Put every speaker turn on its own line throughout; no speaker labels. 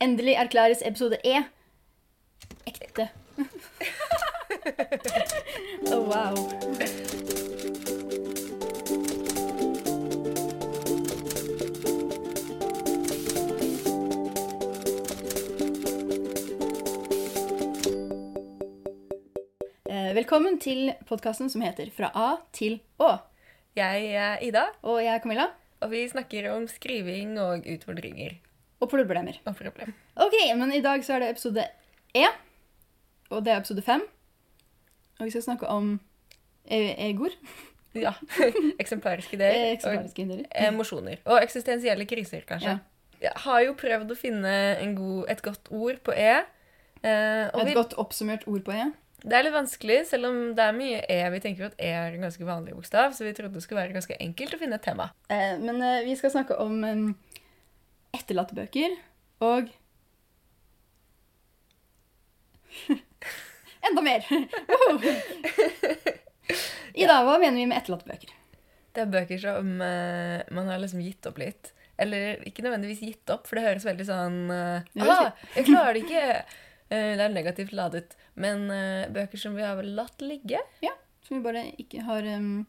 Endelig erklæres episode E ekte. oh, wow. Eh, Velkommen til podkasten som heter Fra A til Å.
Jeg er Ida,
Og jeg er Camilla,
og vi snakker om skriving og utfordringer
og problemer.
og problem.
Ok, men i dag så er det episode E, og det er episode 5. Og vi skal snakke om e- egor,
Ja. Eksemplariske
E-
ideer og
Eh,
eh,
eksemplariske hindre.
emosjoner. Og eksistensielle kriser, kanskje.
Ja.
Jeg har jo prøvd å finne en god, et godt ord på E. eh, og
Et
vi,
godt oppsummert ord på E.
det er litt vanskelig, selv om det er mye E. Vi tenker jo at E er en ganske vanlig bokstav, så vi trodde det skulle være ganske enkelt å finne et tema.
Eh, Men eh, vi skal snakke om em, etterlattebøker og Enda mer! Woho! Ida, hva mener vi med etterlattebøker?
Det er bøker som eh, man har liksom gitt opp litt. Eller ikke nødvendigvis gitt opp, for det høres veldig sånn eh,
Det høres
ah, 'Jeg klarer det ikke!' Eh, det er negativt ladet. Men eh, bøker som vi har vel latt ligge.
Som vi bare ikke har em,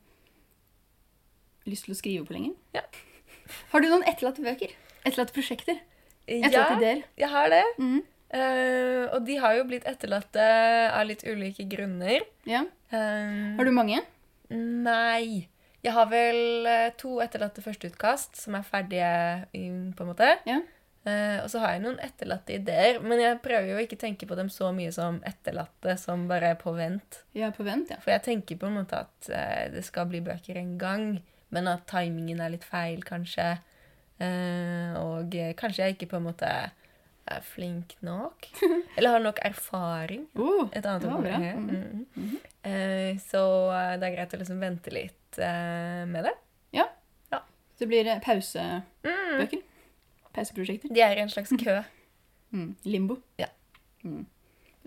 lyst til å skrive på lenger.
Ja.
Har du noen etterlatte bøker? Etterlatte prosjekter?
Eh,
Etterlatte ideer?
jeg har det.
Mhm.
Eh, og de har jo blitt etterlatte av litt ulike grunner.
Ja.
Eh,
Har du mange?
Nei. Jeg har vel eh, to etterlatte førsteutkast som er ferdige, i- på en måte.
Ja.
Eh, og så har jeg noen etterlatte ideer, men jeg prøver jo ikke å tenke på dem så mye som etterlatte, som bare er på vent.
Ja, på vent, ja.
For jeg tenker på en måte at eh, det skal bli bøker en gang, men at timingen er litt feil, kanskje. Eh, og eh, kanskje jeg ikke på en måte er flink nok. Eller har nok erfaring.
Oh,
Et annet
Det var
ord.
bra.
Eh,
Mhm.
mhm. Eh, så eh, det er greit å liksom vente litt eh, med det.
så blir det pausebøker.
Mm.
Pauseprosjekter.
De er i en slags kø.
Mm. Limbo.
Ja.
Mm.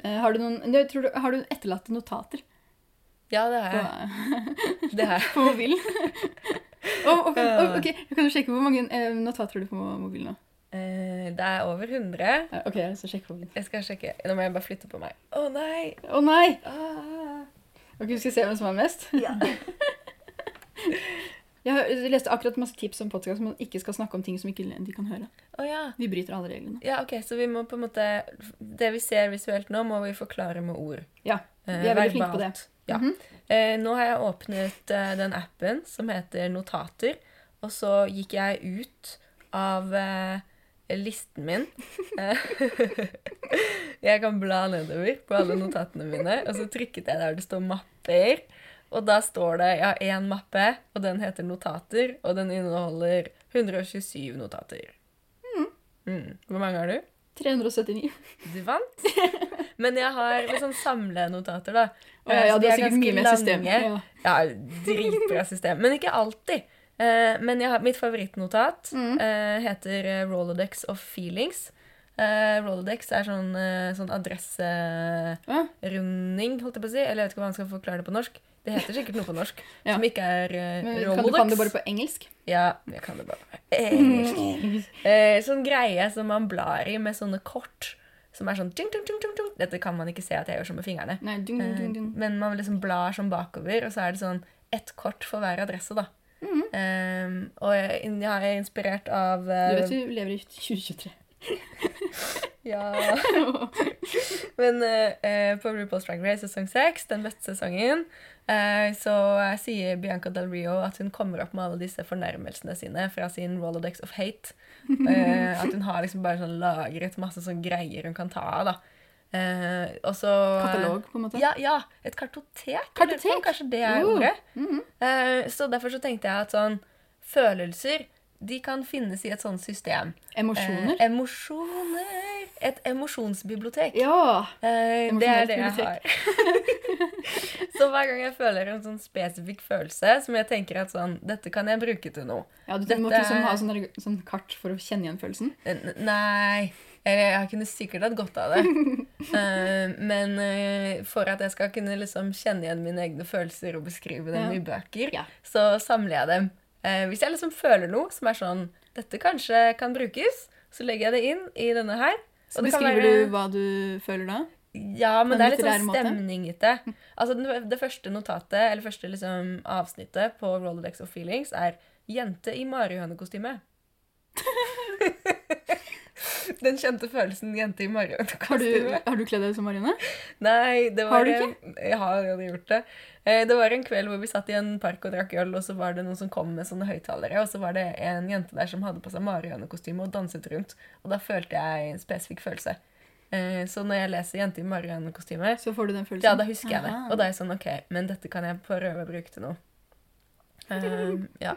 Eh, har du noen du, tror du, Har du etterlatte notater
Ja, det
på,
er det. Er.
på mobilen? oh, ok, oh, ok, jeg kan jo sjekke hvor mange eh, notater har du på mobilen nå.
Eh, det er over 100.
Eh, Ok, så sjekk på mobilen.
Jeg skal sjekke. Nå må jeg bare flytte på meg. Å nei!
Å nei!
Ah.
Ok, Vi skal se hvem som har mest. Jeg hø- jeg leste akkurat masse tips om podcast om at man ikke skal snakke om ting som ikke de kan høre.
Å ja.
Vi bryter alle reglene.
ja. Ok, så vi må på en måte Det vi ser visuelt nå, må vi forklare med ord.
Ja,
Eh,
vi er veldig flinke på
verbalt.
det.
Ja.
Mhm.
Eh, nå har jeg åpnet eh, den appen som heter Notater, og så gikk jeg ut av eh, listen min. Eh, jeg kan bla nedover på alle notatene mine, og så trykket jeg der det står mapper. Og da står det Jeg har én mappe, og den heter Notater, og den inneholder 127 notater.
Mhm.
Mm. Hvor mange har du?
379.
Du vant. Men jeg har liksom samlenotater, da.
Å ja, ja,
Så
du har
de er
sikkert
ganske
mye mer system.
lange.
Ja.
Ja, dritbra system. Men ikke alltid. Eh, men jeg har, mitt favorittnotat
Mm.
eh, heter eh, Rolodex of Feelings. Eh, Rolodex er sånn, eh, sånn adresserunding,
Ja.
holdt jeg på å si. Eller jeg vet ikke hvordan jeg skal forklare det på norsk. Det heter sikkert noe på norsk
Ja.
som ikke er eh,
Men kan du
Rolodex.
kan det bare på engelsk?
Ja, jeg kan det bare. Eh, eh, sånn greie som man blar i med sånne kort som er sånn ting, ting, ting, ting, ting. Dette kan man ikke se at jeg gjør sånn med fingrene.
Nei, dun, dun, dun, dun.
Eh, Men man liksom blar sånn bakover, og så er det sånn ett kort for hver adresse, da.
Mm.
Eh, og jeg, jeg er inspirert av eh,
Du vet vi lever i 2023.
Ja. Men eh, eh, på RuPaul's Drag Race sesong 6, den beste sesongen, eh, så eh, sier Bianca Del Rio at hun kommer opp med alle disse fornærmelsene sine fra sin Rolodex of Hate. Eh, at hun har liksom bare sånn lagret masse sånn greier hun kan ta av, da. Eh, og så
Katalog, på en måte.
Ja, ja, et kartotek.
Kartotek?
eller noe, Kanskje det er
Oh.
ordet.
Mhm.
Eh, så derfor så tenkte jeg at sånn følelser, de kan finnes i et sånt system.
Emosjoner.
Eh, emosjoner. Et emosjonsbibliotek.
Ja!
Eh, det er
Emosjonelt
det jeg har. så hver gang jeg føler en sånn spesifikk følelse som jeg tenker at sånn, dette kan jeg bruke til noe.
ja du
Dette
må ikke liksom
er-
ha sånn, der, sånn kart for å kjenne igjen følelsen.
Eh, N nei Eller jeg kunne sikkert hatt godt av det. Eh, men eh, for at jeg skal kunne liksom kjenne igjen mine egne følelser og beskrive dem
Ja.
i bøker,
Ja.
så samler jeg dem. Eh, hvis jeg liksom føler noe som er sånn Dette kanskje kan brukes, så legger jeg det inn i denne her. Så
Og
det kan
beskriver
være-
du hva du føler da?
Ja, men
en
det er litt
litterær
sånn
måte.
stemning i det. Altså, den- det første notatet, eller første liksom, avsnittet på Rolodex of Feelings er 'Jente i marihønekostyme'. den kjente følelsen 'jente i
Har du,
marihønekostyme'.
har du kledd deg som Marianne?
Nei, det var
Har du
En, jeg har allerede gjort det. Eh, Det var en kveld hvor vi satt i en park og drakk øl, og så var det noen som kom med sånne høyttalere, og så var det en jente der som hadde på seg marihønekostyme og danset rundt. Og da følte jeg en spesifikk følelse. Eh, Så når jeg leser 'Jente i marihønekostyme',
Så får du den følelsen.
ja, da husker jeg det.
Aha.
Og da er jeg sånn OK, men dette kan jeg prøve å bruke til noe. Ehm, ja.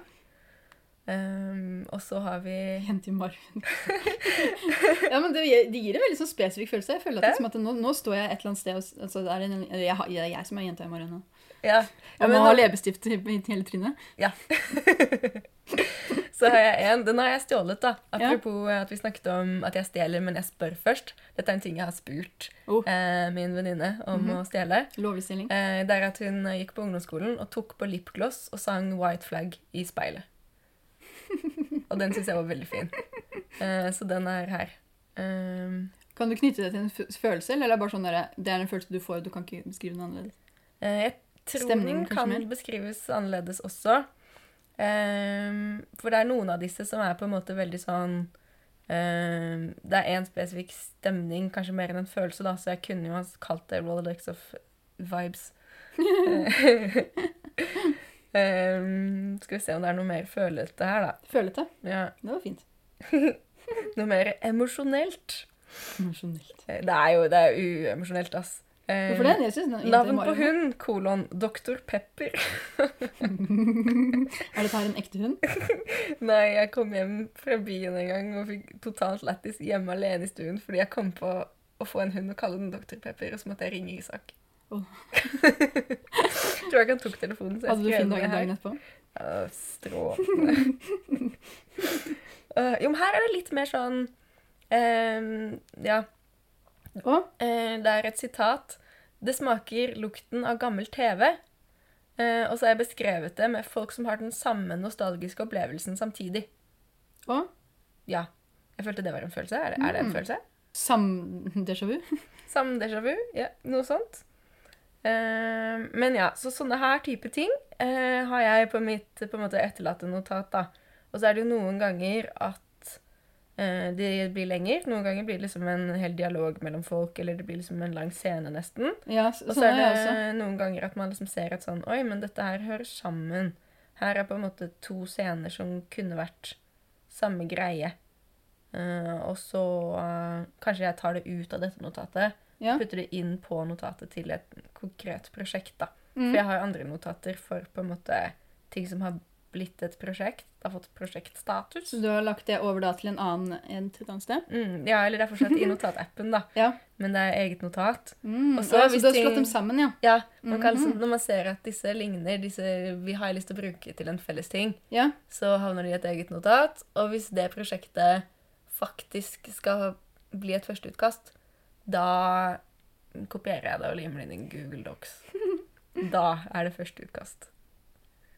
Ehm, og så har vi
Jente i margen. ja, men det, gir- det gir en veldig sånn spesifikk følelse. Jeg føler at, det, er som at nå, nå står jeg et eller annet sted og s- altså, det, er en, eller jeg, har- det er jeg som er jenta i margen nå.
Ja.
Og
ja
må
men,
ha
nå-
leppestift i i hele trynet.
så har jeg en. Den har jeg stjålet, da.
Ja.
Apropos eh, at vi snakket om at jeg stjeler, men jeg spør først. Dette er en ting jeg har spurt
Oh.
eh, min venninne om
Mhm.
å stjele.
Lovlig stilling.
Eh, det er at hun eh, gikk på ungdomsskolen og tok på lipgloss og sang White Flag i speilet. Og den syns jeg var veldig fin. Eh, så den er her. Ehm,
Kan du knytte det til en f følelse, eller er det bare sånn der, det er en følelse du får, og du kan ikke beskrive den annerledes?
Eh, Jeg tror
Stemningen,
den
kanskje
kan
mer?
beskrives annerledes også. Ehm, for det er noen av disse som er på en måte veldig sånn ehm, Det er én spesifikk stemning, kanskje mer enn en følelse, da, så jeg kunne jo ha kalt det Rolodex of vibes. Ehm, skal vi se om det er noe mer følete her, da.
Følete.
Ja,
Det var fint.
noe mer emosjonelt.
Emosjonelt.
Eh, Det er jo det er uemosjonelt, ass. Ehm,
Hvorfor det? Jeg synes den
Navn på hund, kolon, Dr. Pepper.
hund. er dette her en ekte hund?
Nei, jeg kom hjem fra byen en gang og fikk totalt lættis hjemme alene i stuen fordi jeg kom på å få en hund og kalle den Dr. Pepper, og så måtte jeg ringe Isak.
Åh.
Tror jeg ikke han tok telefonen. så jeg
Hadde du
skrev
fin
ned
dag
her.
dagen etterpå?
Ja, Strålende. Eh, jo, men her er det litt mer sånn eh, Ja.
Å?
Eh, det er et sitat. Det smaker lukten av gammel TV. Eh, og så har jeg beskrevet det med folk som har den samme nostalgiske opplevelsen samtidig.
Og
Ja. Jeg følte det var en følelse. Er det, er det en
Mm.
følelse?
sam-déjà vu?
Samme déjà vu? Ja, noe sånt. Eh, men ja, så sånne her type ting eh, har jeg på mitt på en måte etterlatte notat, da. Og så er det jo noen ganger at eh, de blir lenger. Noen ganger blir det liksom en hel dialog mellom folk, eller det blir liksom en lang scene, nesten.
Ja, så,
Og
sånn
så er
er
det
jeg også.
noen ganger at man liksom ser at sånn Oi, men dette her hører sammen. Her er på en måte to scener som kunne vært samme greie. Eh, og så eh, kanskje jeg tar det ut av dette notatet.
Ja.
Putter det inn på notatet til et konkret prosjekt, da. For
Mm.
jeg har andre notater for på en måte ting som har blitt et prosjekt. Det har fått prosjektstatus.
Så du har lagt det over da til en annen, en, til et annet sted?
Mm, ja, eller det er fortsatt i notatappen, da.
Ja.
Men det er eget notat.
Mm.
Og
Og
så
så,
hvis
du har
ting-
slått dem sammen, ja.
Ja, man
Mhm.
kan liksom, når man ser at disse ligner, disse vi har lyst til å bruke til en felles ting,
ja.
så havner de i et eget notat. Og hvis det prosjektet faktisk skal bli et førsteutkast, da kopierer jeg det og limer det inn i Google Docs. Da er det førsteutkast.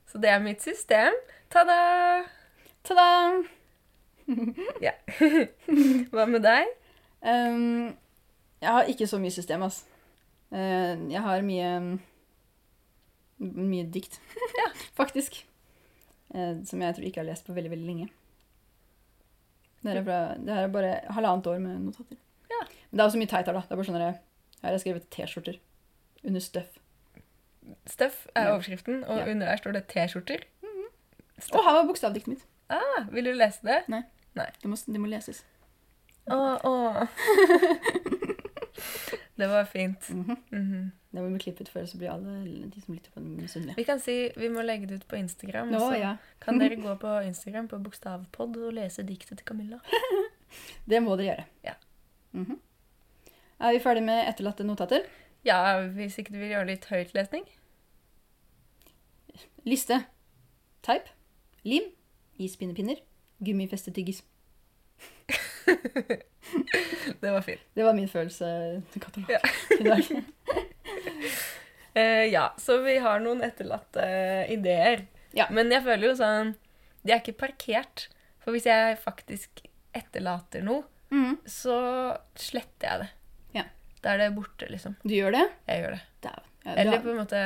Så det er mitt system. Ta-da!
Ta-da!
Hva med deg?
Um, jeg har ikke så mye system, ass. Eh, jeg har mye mye dikt, faktisk. Eh, som jeg tror ikke jeg har lest på veldig, veldig lenge. Det her er, fra, det her er bare halvannet år med notater.
Ja.
Men det er også mye teit her, da. Det er bare sånn der, Her har jeg skrevet T-skjorter under støff.
Støff er
Ja.
overskriften, og
Ja.
under der står det T-skjorter.
Og her var bokstavdiktet mitt.
Ah, vil du lese det?
Det må, det må leses.
Åh, åh. Det var fint.
Mhm.
Mhm.
Det må bli klippet før, så blir alle de som lytter på den misunnelige.
Vi kan si vi må legge det ut på Instagram.
Nå,
så
ja.
Kan dere gå på Instagram på Bokstavpod og lese diktet til Camilla?
Det må dere gjøre.
Ja.
Mhm. Er vi ferdig med etterlatte notater?
Ja, hvis ikke du vil gjøre litt høytlesning.
Liste. Teip. Lim. Ispinnepinner. Gummifestetyggis.
Det var fint.
Det var min følelsekatalog
Ja.
i dag.
Eh, ja, så vi har noen etterlatte ideer.
Ja.
Men jeg føler jo sånn De er ikke parkert. For hvis jeg faktisk etterlater noe,
Mm.
så sletter jeg det.
Ja.
Da er det borte, liksom.
Du gjør det?
Jeg gjør det.
Dæven. Ja,
Eller
du
på en måte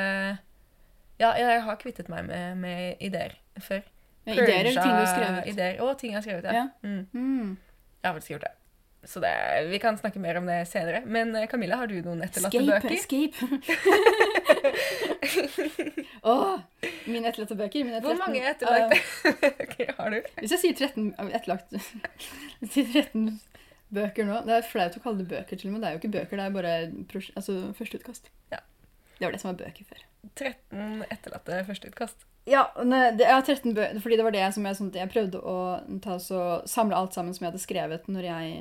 Ja, jeg har kvittet meg med, med ideer før.
har, ja, ideer eller ting du har
Purga
skrevet?
Ideer og ting jeg har skrevet, ja.
Ja.
Mm.
Mm.
Jeg har faktisk gjort det. Så det, vi kan snakke mer om det senere. Men eh, Camilla, har du noen etterlatte
Escape!
bøker?
Escape! Åh, mine etterlatte bøker. Mine
Hvor
13.
mange
Eh,
etterlatte bøker har du?
Hvis jeg sier 13 av etterlagt jeg sier 13 bøker nå Det er flaut å kalle det bøker, til og med. Det er jo ikke bøker, det er bare pros- altså, førsteutkast.
Ja.
Det var det som var bøker før.
13 etterlatte førsteutkast.
Ja, nei, det, jeg har 13 bøker, fordi det var det som jeg, sånn, at jeg prøvde å ta, så, samle alt sammen som jeg hadde skrevet når jeg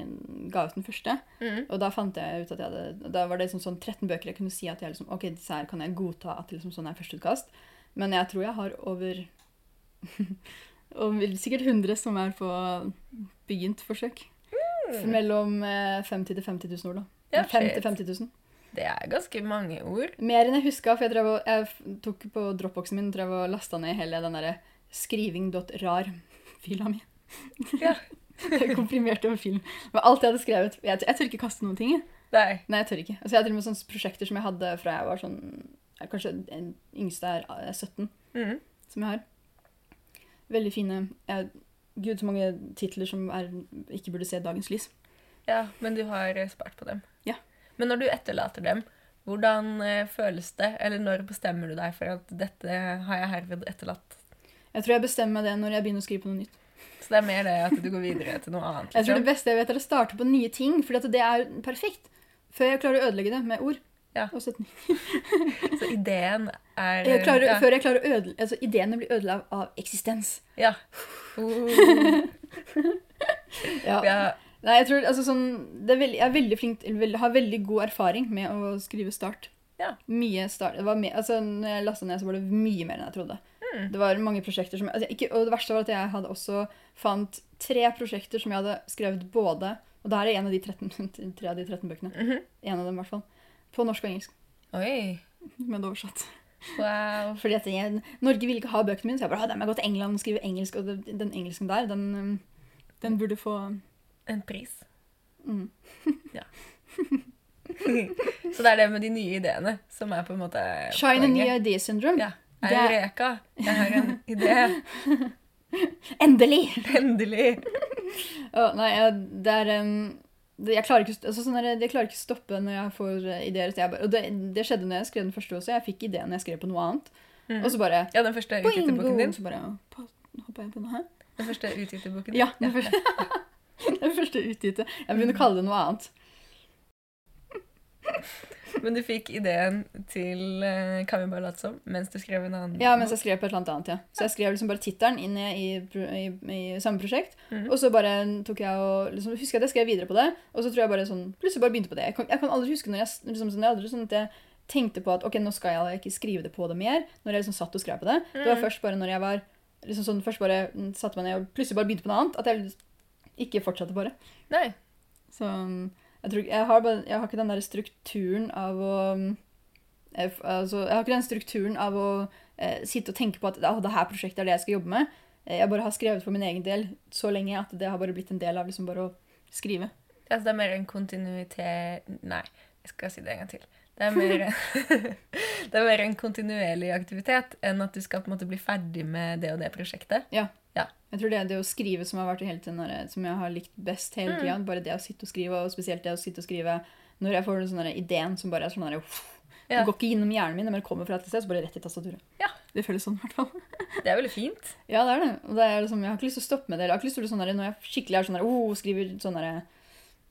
ga ut den første.
Mm.
Og da fant jeg ut at jeg hadde, da var det liksom sånn 13 bøker jeg kunne si at jeg liksom, ok, disse her kan jeg godta at liksom sånn er førsteutkast. Men jeg tror jeg har over, over sikkert 100 som er på begynt forsøk. Mellom eh, 50 til 50 000 ord da.
Hmm. Ja,
Ja, 5
shit.
til 50 000.
Det er ganske mange ord.
Mer enn jeg huska, for jeg, drev og, jeg f- tok på dropboxen min drev og lasta ned hele den derre skriving.rar-fila mi.
Ja.
Komprimert over film. Men alt jeg hadde skrevet Jeg, jeg tør ikke kaste noen ting. jeg.
Nei.
Nei, jeg tør ikke. Altså, jeg har til og med sånne prosjekter som jeg hadde fra jeg var sånn jeg- Kanskje den yngste er eh, 17,
Mm.
som jeg har. Veldig fine jeg, Gud, så mange titler som er, ikke burde se dagens lys.
Ja, men du har eh, spart på dem.
Ja.
Men når du etterlater dem, hvordan eh, føles det? Eller når bestemmer du deg for at dette har jeg herved etterlatt?
Jeg tror jeg bestemmer meg det når jeg begynner å skrive på noe nytt.
Så det er mer det at du går videre til noe annet.
Jeg tror det
Liksom.
beste jeg vet, er å starte på nye ting, fordi at det er perfekt. Før jeg klarer å ødelegge det med ord.
Ja.
Og setninger.
Så ideen er eh,
jeg klarer,
ja.
Før jeg klarer å ødelegge Altså, ideene blir ødelagt av eksistens.
Ja. Uh,
Ja.
ja.
Nei, jeg tror altså sånn det er veldig, Jeg er veldig flink til vel- Har veldig god erfaring med å skrive start.
Ja.
Mye start. Det var mer, altså, når jeg lasta ned, så var det mye mer enn jeg trodde.
Mm.
Det var mange prosjekter som altså, ikke, Og det verste var at jeg hadde også fant tre prosjekter som jeg hadde skrevet både Og det her er en av de 13, tre av de 13 bøkene.
Mhm.
En av dem, i hvert fall. På norsk og engelsk.
Oi.
Men det er oversatt.
Wow.
Fordi at jeg, Norge ville ikke ha bøkene mine, så jeg bare, «Ah, da må jeg gå til England og skrive engelsk. Og det, den engelsken der, den, um, den burde få
En pris.
mm.
Så det er det med de nye ideene som er på en måte
Shine a
poenget.
new idea syndrome.
Ja.
Det er-
Eureka! Jeg har en idé.
Endelig!
Endelig.
Å, nei, jeg, det er um, det, jeg, klarer ikke, å st- altså, sånn der, jeg klarer ikke stoppe når jeg får eh, ideer. Så jeg bare, og det, det skjedde når jeg skrev den første også. Jeg fikk ideen når jeg skrev på noe annet.
Mm.
Og så bare
Ja, den første utgitte
Boingo!
boken din.
Så bare «På- Hoppa jeg på noe her?
Den første utgitte boken din.
Ja, den første, den første utgitte. Jeg begynte å kalle det noe annet.
Men du fikk ideen til eh, Kan vi bare late som? Mens du skrev en annen
Ja, mens jeg skrev på et eller annet annet, ja. Så jeg skrev liksom bare tittelen inn i, i, pro- i, i samme prosjekt,
Mhm.
og så bare tok jeg og liksom, husker jeg at jeg skrev videre på det, og så tror jeg bare sånn, plutselig bare begynte på det. Jeg kan, jeg kan aldri huske når jeg, s- liksom, sånn, jeg aldri sånn at jeg tenkte på at, ok, nå skal jeg ikke skrive det på det mer, når jeg liksom satt og skrev på det. Det var
Mhm.
først bare når jeg var, liksom sånn, først bare mm, satte meg ned og plutselig bare begynte på noe annet, at jeg ikke fortsatte bare.
Nei.
Så um, jeg tror ikke- jeg har, bare, jeg har ikke den der strukturen av å um, jeg, f- altså, jeg har ikke den strukturen av å eh, sitte og tenke på at «Å, det her prosjektet er det jeg skal jobbe med. Eh, Jeg bare har skrevet for min egen del så lenge at det har bare blitt en del av liksom bare å skrive.
Altså, det er mer en kontinuitet Nei, jeg skal si det en gang til. Det er, mer, det er mer en kontinuerlig aktivitet enn at du skal på en måte bli ferdig med det og det prosjektet.
Jeg tror det er det å skrive som har vært hele tiden, der- som jeg har likt best hele
Mm.
tida. Bare det å sitte og skrive, og spesielt det å sitte og skrive når jeg får den sånne der ideen som bare er sånn der, uff,
Ja.
Den går ikke gjennom hjernen min, men den kommer fra et sted, så bare rett i tastaturet.
Ja.
Det føles sånn, i hvert fall.
Det er veldig fint.
Ja, det er det. Og det er liksom, jeg har ikke lyst til å stoppe med det. eller Jeg har ikke lyst til å bli sånn der, Når jeg skikkelig er sånn der, oh, skriver sånn der,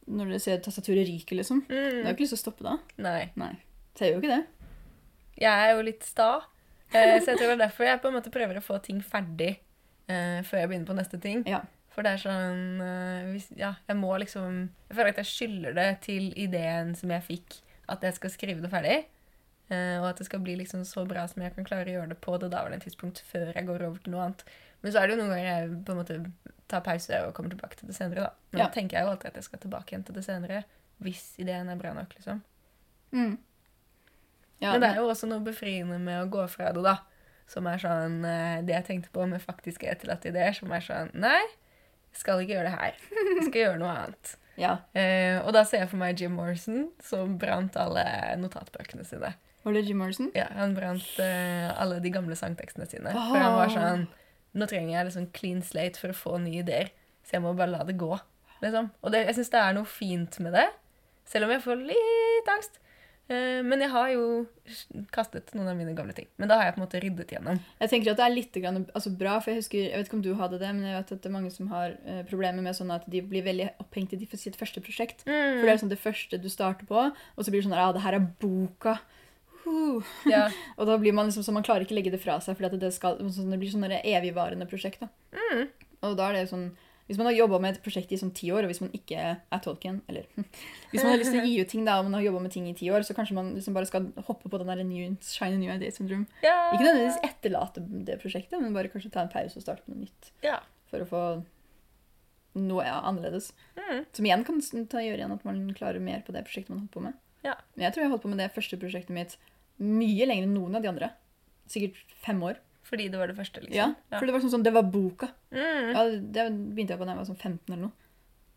Når dere ser tastaturet ryker, liksom. Jeg har
Mm.
ikke lyst til å stoppe da.
Nei.
Nei. Så jeg gjør jo ikke det.
Jeg er jo litt sta, eh, så jeg tror det er derfor jeg på en måte prøver å få ting ferdig eh, før jeg begynner på neste ting.
Ja.
For det er sånn eh, hvis, Ja, jeg må liksom Jeg føler at jeg skylder det til ideen som jeg fikk, at jeg skal skrive det ferdig. eh, og at det skal bli liksom så bra som jeg kan klare å gjøre det på det daværende tidspunkt før jeg går over til noe annet. Men så er det jo noen ganger jeg på en måte tar pause og kommer tilbake til det senere, da. Men
Ja.
da tenker jeg jo alltid at jeg skal tilbake igjen til det senere. Hvis ideen er bra nok, liksom.
Mm. Ja,
Men det er jo også noe befriende med å gå fra det, da. Som er sånn eh, Det jeg tenkte på med faktiske etterlatte ideer, som er sånn Nei, jeg skal ikke gjøre det her. Jeg skal gjøre noe annet.
Ja.
Eh, og da ser jeg for meg Jim Morrison som brant alle notatbøkene sine.
Var det Jim Morrison?
Ja, Han brant eh, alle de gamle sangtekstene sine. For han var sånn Nå trenger jeg liksom clean slate for å få nye ideer, så jeg må bare la det gå. Liksom. Og det, jeg syns det er noe fint med det, selv om jeg får litt angst. Eh, men jeg har jo kastet noen av mine gamle ting. Men da har jeg på en måte ryddet gjennom.
Jeg tenker at det er litt grann, altså, bra, for jeg husker, jeg vet ikke om du hadde det, men jeg vet at det er mange som har eh, problemer med sånn at de blir veldig opphengt i de- sitt første prosjekt. For det er
Mm.
sånn det første du starter på, og så blir det sånn at ah, det her er boka. Uh.
Ja.
Og da blir man liksom, så man klarer ikke legge det fra seg, for det, skal- sånn, det blir sånn et evigvarende prosjekt. Da. Og da er det sånn, hvis man har jobbet med et prosjekt i sånn ti år, og hvis man ikke er Tolkien, eller hvis man har lyst til å gi ut ting da, og man har jobbet med ting i ti år, så kanskje man liksom bare skal hoppe på den der new, shiny new idea syndrome.
ja.
Ikke nødvendigvis etterlate det prosjektet, men bare kanskje ta en pause og starte med noe nytt.
Ja.
For å få noe ja, annerledes.
Mm.
Som igjen kan s- ta, gjøre igjen at man klarer mer på det prosjektet man holdt på med.
Ja.
Men jeg tror jeg holdt på med det første prosjektet mitt mye lenger enn noen av de andre. Sikkert fem år.
Fordi det var det første, liksom.
Ja,
Ja.
for det var sånn, sånn, det var boka.
Mm.
Ja, det begynte jeg på da jeg var sånn 15 eller noe.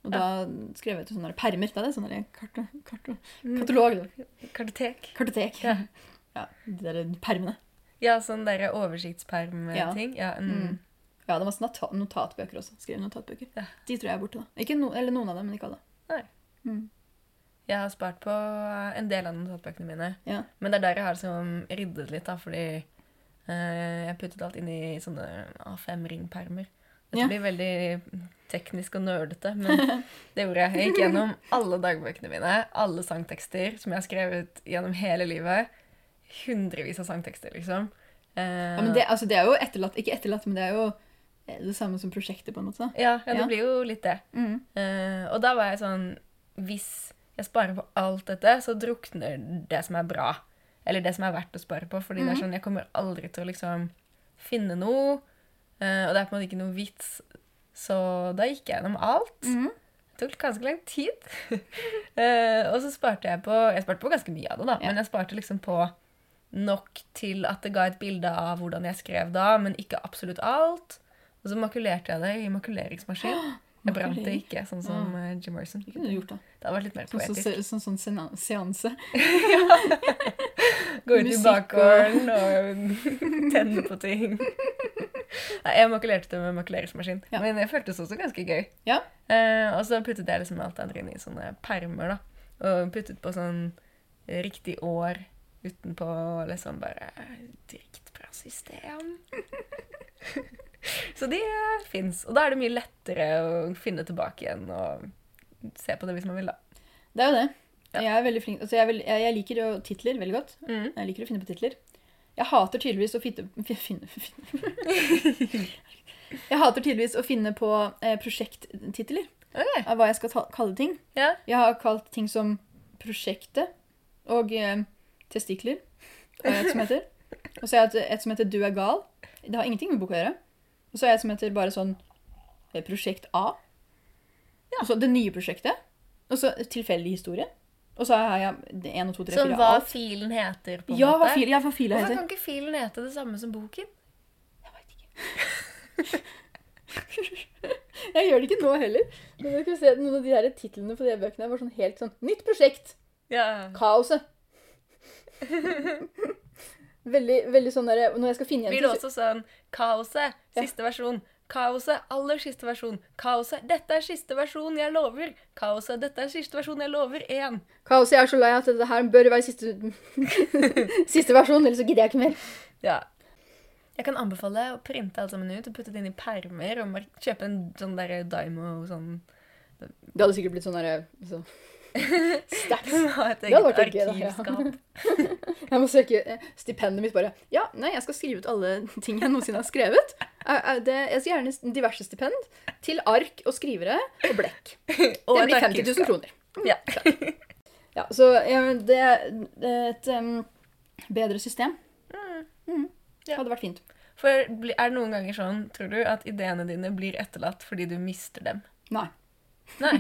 Og da skrev jeg ut sånne der permer. Da er det sånn der karto, karto,
Mm.
katalog. da.
Kartotek.
Kartotek.
Ja.
Ja, de der permene.
Ja, sånn derre oversiktsperm-ting. Ja. mm.
Mm. Ja, det var masse nota- notatbøker også. Skrev notatbøker.
Ja.
De tror jeg er borte, da. Ikke no, eller noen av dem, men ikke alle.
Nei.
Mm.
Jeg har spart på eh, en del av notatbøkene mine.
Ja.
Men det er der jeg har liksom ryddet litt, da, fordi eh, jeg puttet alt inn i sånne A5-ringpermer. Dette
Ja.
blir veldig teknisk og nerdete, men det gjorde jeg. Jeg gikk gjennom alle dagbøkene mine, alle sangtekster som jeg har skrevet gjennom hele livet. Hundrevis av sangtekster, liksom. Eh,
Ja, men det, altså, det er jo etterlatt, ikke etterlatt, men det er jo eh, det samme som prosjektet, på en måte. da.
Eh, ja, ja, det
Ja.
blir jo litt det.
Mm.
Eh, og da var jeg sånn Hvis jeg sparer på alt dette, så drukner det som er bra. Eller det som er verdt å spare på. Fordi
Mhm.
det er sånn, jeg kommer aldri til å liksom finne noe. eh, og det er på en måte ikke noe vits. Så da gikk jeg gjennom alt.
Mhm.
Det tok ganske lang tid. Eh, og så sparte jeg på Jeg sparte på ganske mye av det, da.
Ja.
Men jeg sparte liksom på nok til at det ga et bilde av hvordan jeg skrev da, men ikke absolutt alt. Og så makulerte jeg det i makuleringsmaskin. Jeg brant det
Makulering.
ikke, sånn som eh, Jim Morrison.
Det kunne du gjort, da.
Det hadde vært litt mer
Sånn som
poetisk.
se- sånn, sånn sena- seanse.
Gå ut i
Musikk
bakgården og tenne på ting. Nei, jeg makulerte det med makuleringsmaskin.
Ja.
Men jeg føltes også ganske gøy.
Ja.
Eh, og så puttet jeg liksom alt det andre inn i sånne permer, da. Og puttet på sånn riktig år utenpå, og liksom bare Dritbra system. så det fins. Og da er det mye lettere å finne tilbake igjen og se på det hvis man vil, da.
Det er jo det.
Ja.
Jeg er veldig flink. Altså, jeg, er veld- jeg, jeg liker jo titler veldig godt.
Mm.
Jeg liker å finne på titler. Jeg hater tydeligvis å finne, finne, finne. Jeg hater tydeligvis å finne på eh, prosjekttitler
Ok.
av hva jeg skal ta, kalle ting.
Ja.
Jeg har kalt ting som prosjektet og eh, testikler. Det er et som heter. Og så er det et som heter Du er gal. Det har ingenting med boka å gjøre. Og så er det et som heter bare sånn eh, Prosjekt A. Og så det nye prosjektet. Og så tilfeldig historie. Og så har jeg det en og to, tre,
Sånn
fire
hva
alt.
filen heter, på en
Ja,
måte.
hva fil, ja, hva fila
Hvorfor
heter.
kan ikke filen hete det samme som boken?
Jeg gjør det ikke nå heller. Men du kan se at Noen av de her titlene på de her bøkene var sånn helt sånn Nytt prosjekt!
Ja.
Kaoset! veldig, veldig sånn derre Når jeg skal finne
Blir det
igjen
også sånn Kaoset,
Ja.
siste versjon. Kaoset, aller siste versjon. Kaoset, dette er siste versjon, jeg lover. Kaoset, dette er siste versjon, jeg lover. Én.
Kaoset, jeg er så lei at dette her bør være siste, siste versjon, ellers så gidder jeg ikke mer.
Ja. Jeg kan anbefale å printe alt sammen ut og putte det inn i permer og mark- kjøpe en sånn derre Dymo sånn
Det hadde sikkert blitt sånn derre så. Stacks.
Ha et
Det hadde
eget
vært gøy, da, ja.
arkivskap.
Jeg må søke eh, stipendet mitt bare. Ja, nei, jeg skal skrive ut alle ting jeg noensinne har skrevet. Eh, eh, Det, jeg skal gjerne s- diverse stipend til ark og skrivere og blekk.
Og
Det
et
blir 50 000
arkivskap.
kroner.
Ja.
Ja, så ja, men det det er et em, bedre system. Mm.
Ja.
Hadde vært fint.
For bli- er det noen ganger sånn, tror du, at ideene dine blir etterlatt fordi du mister dem?
Nei.
Nei.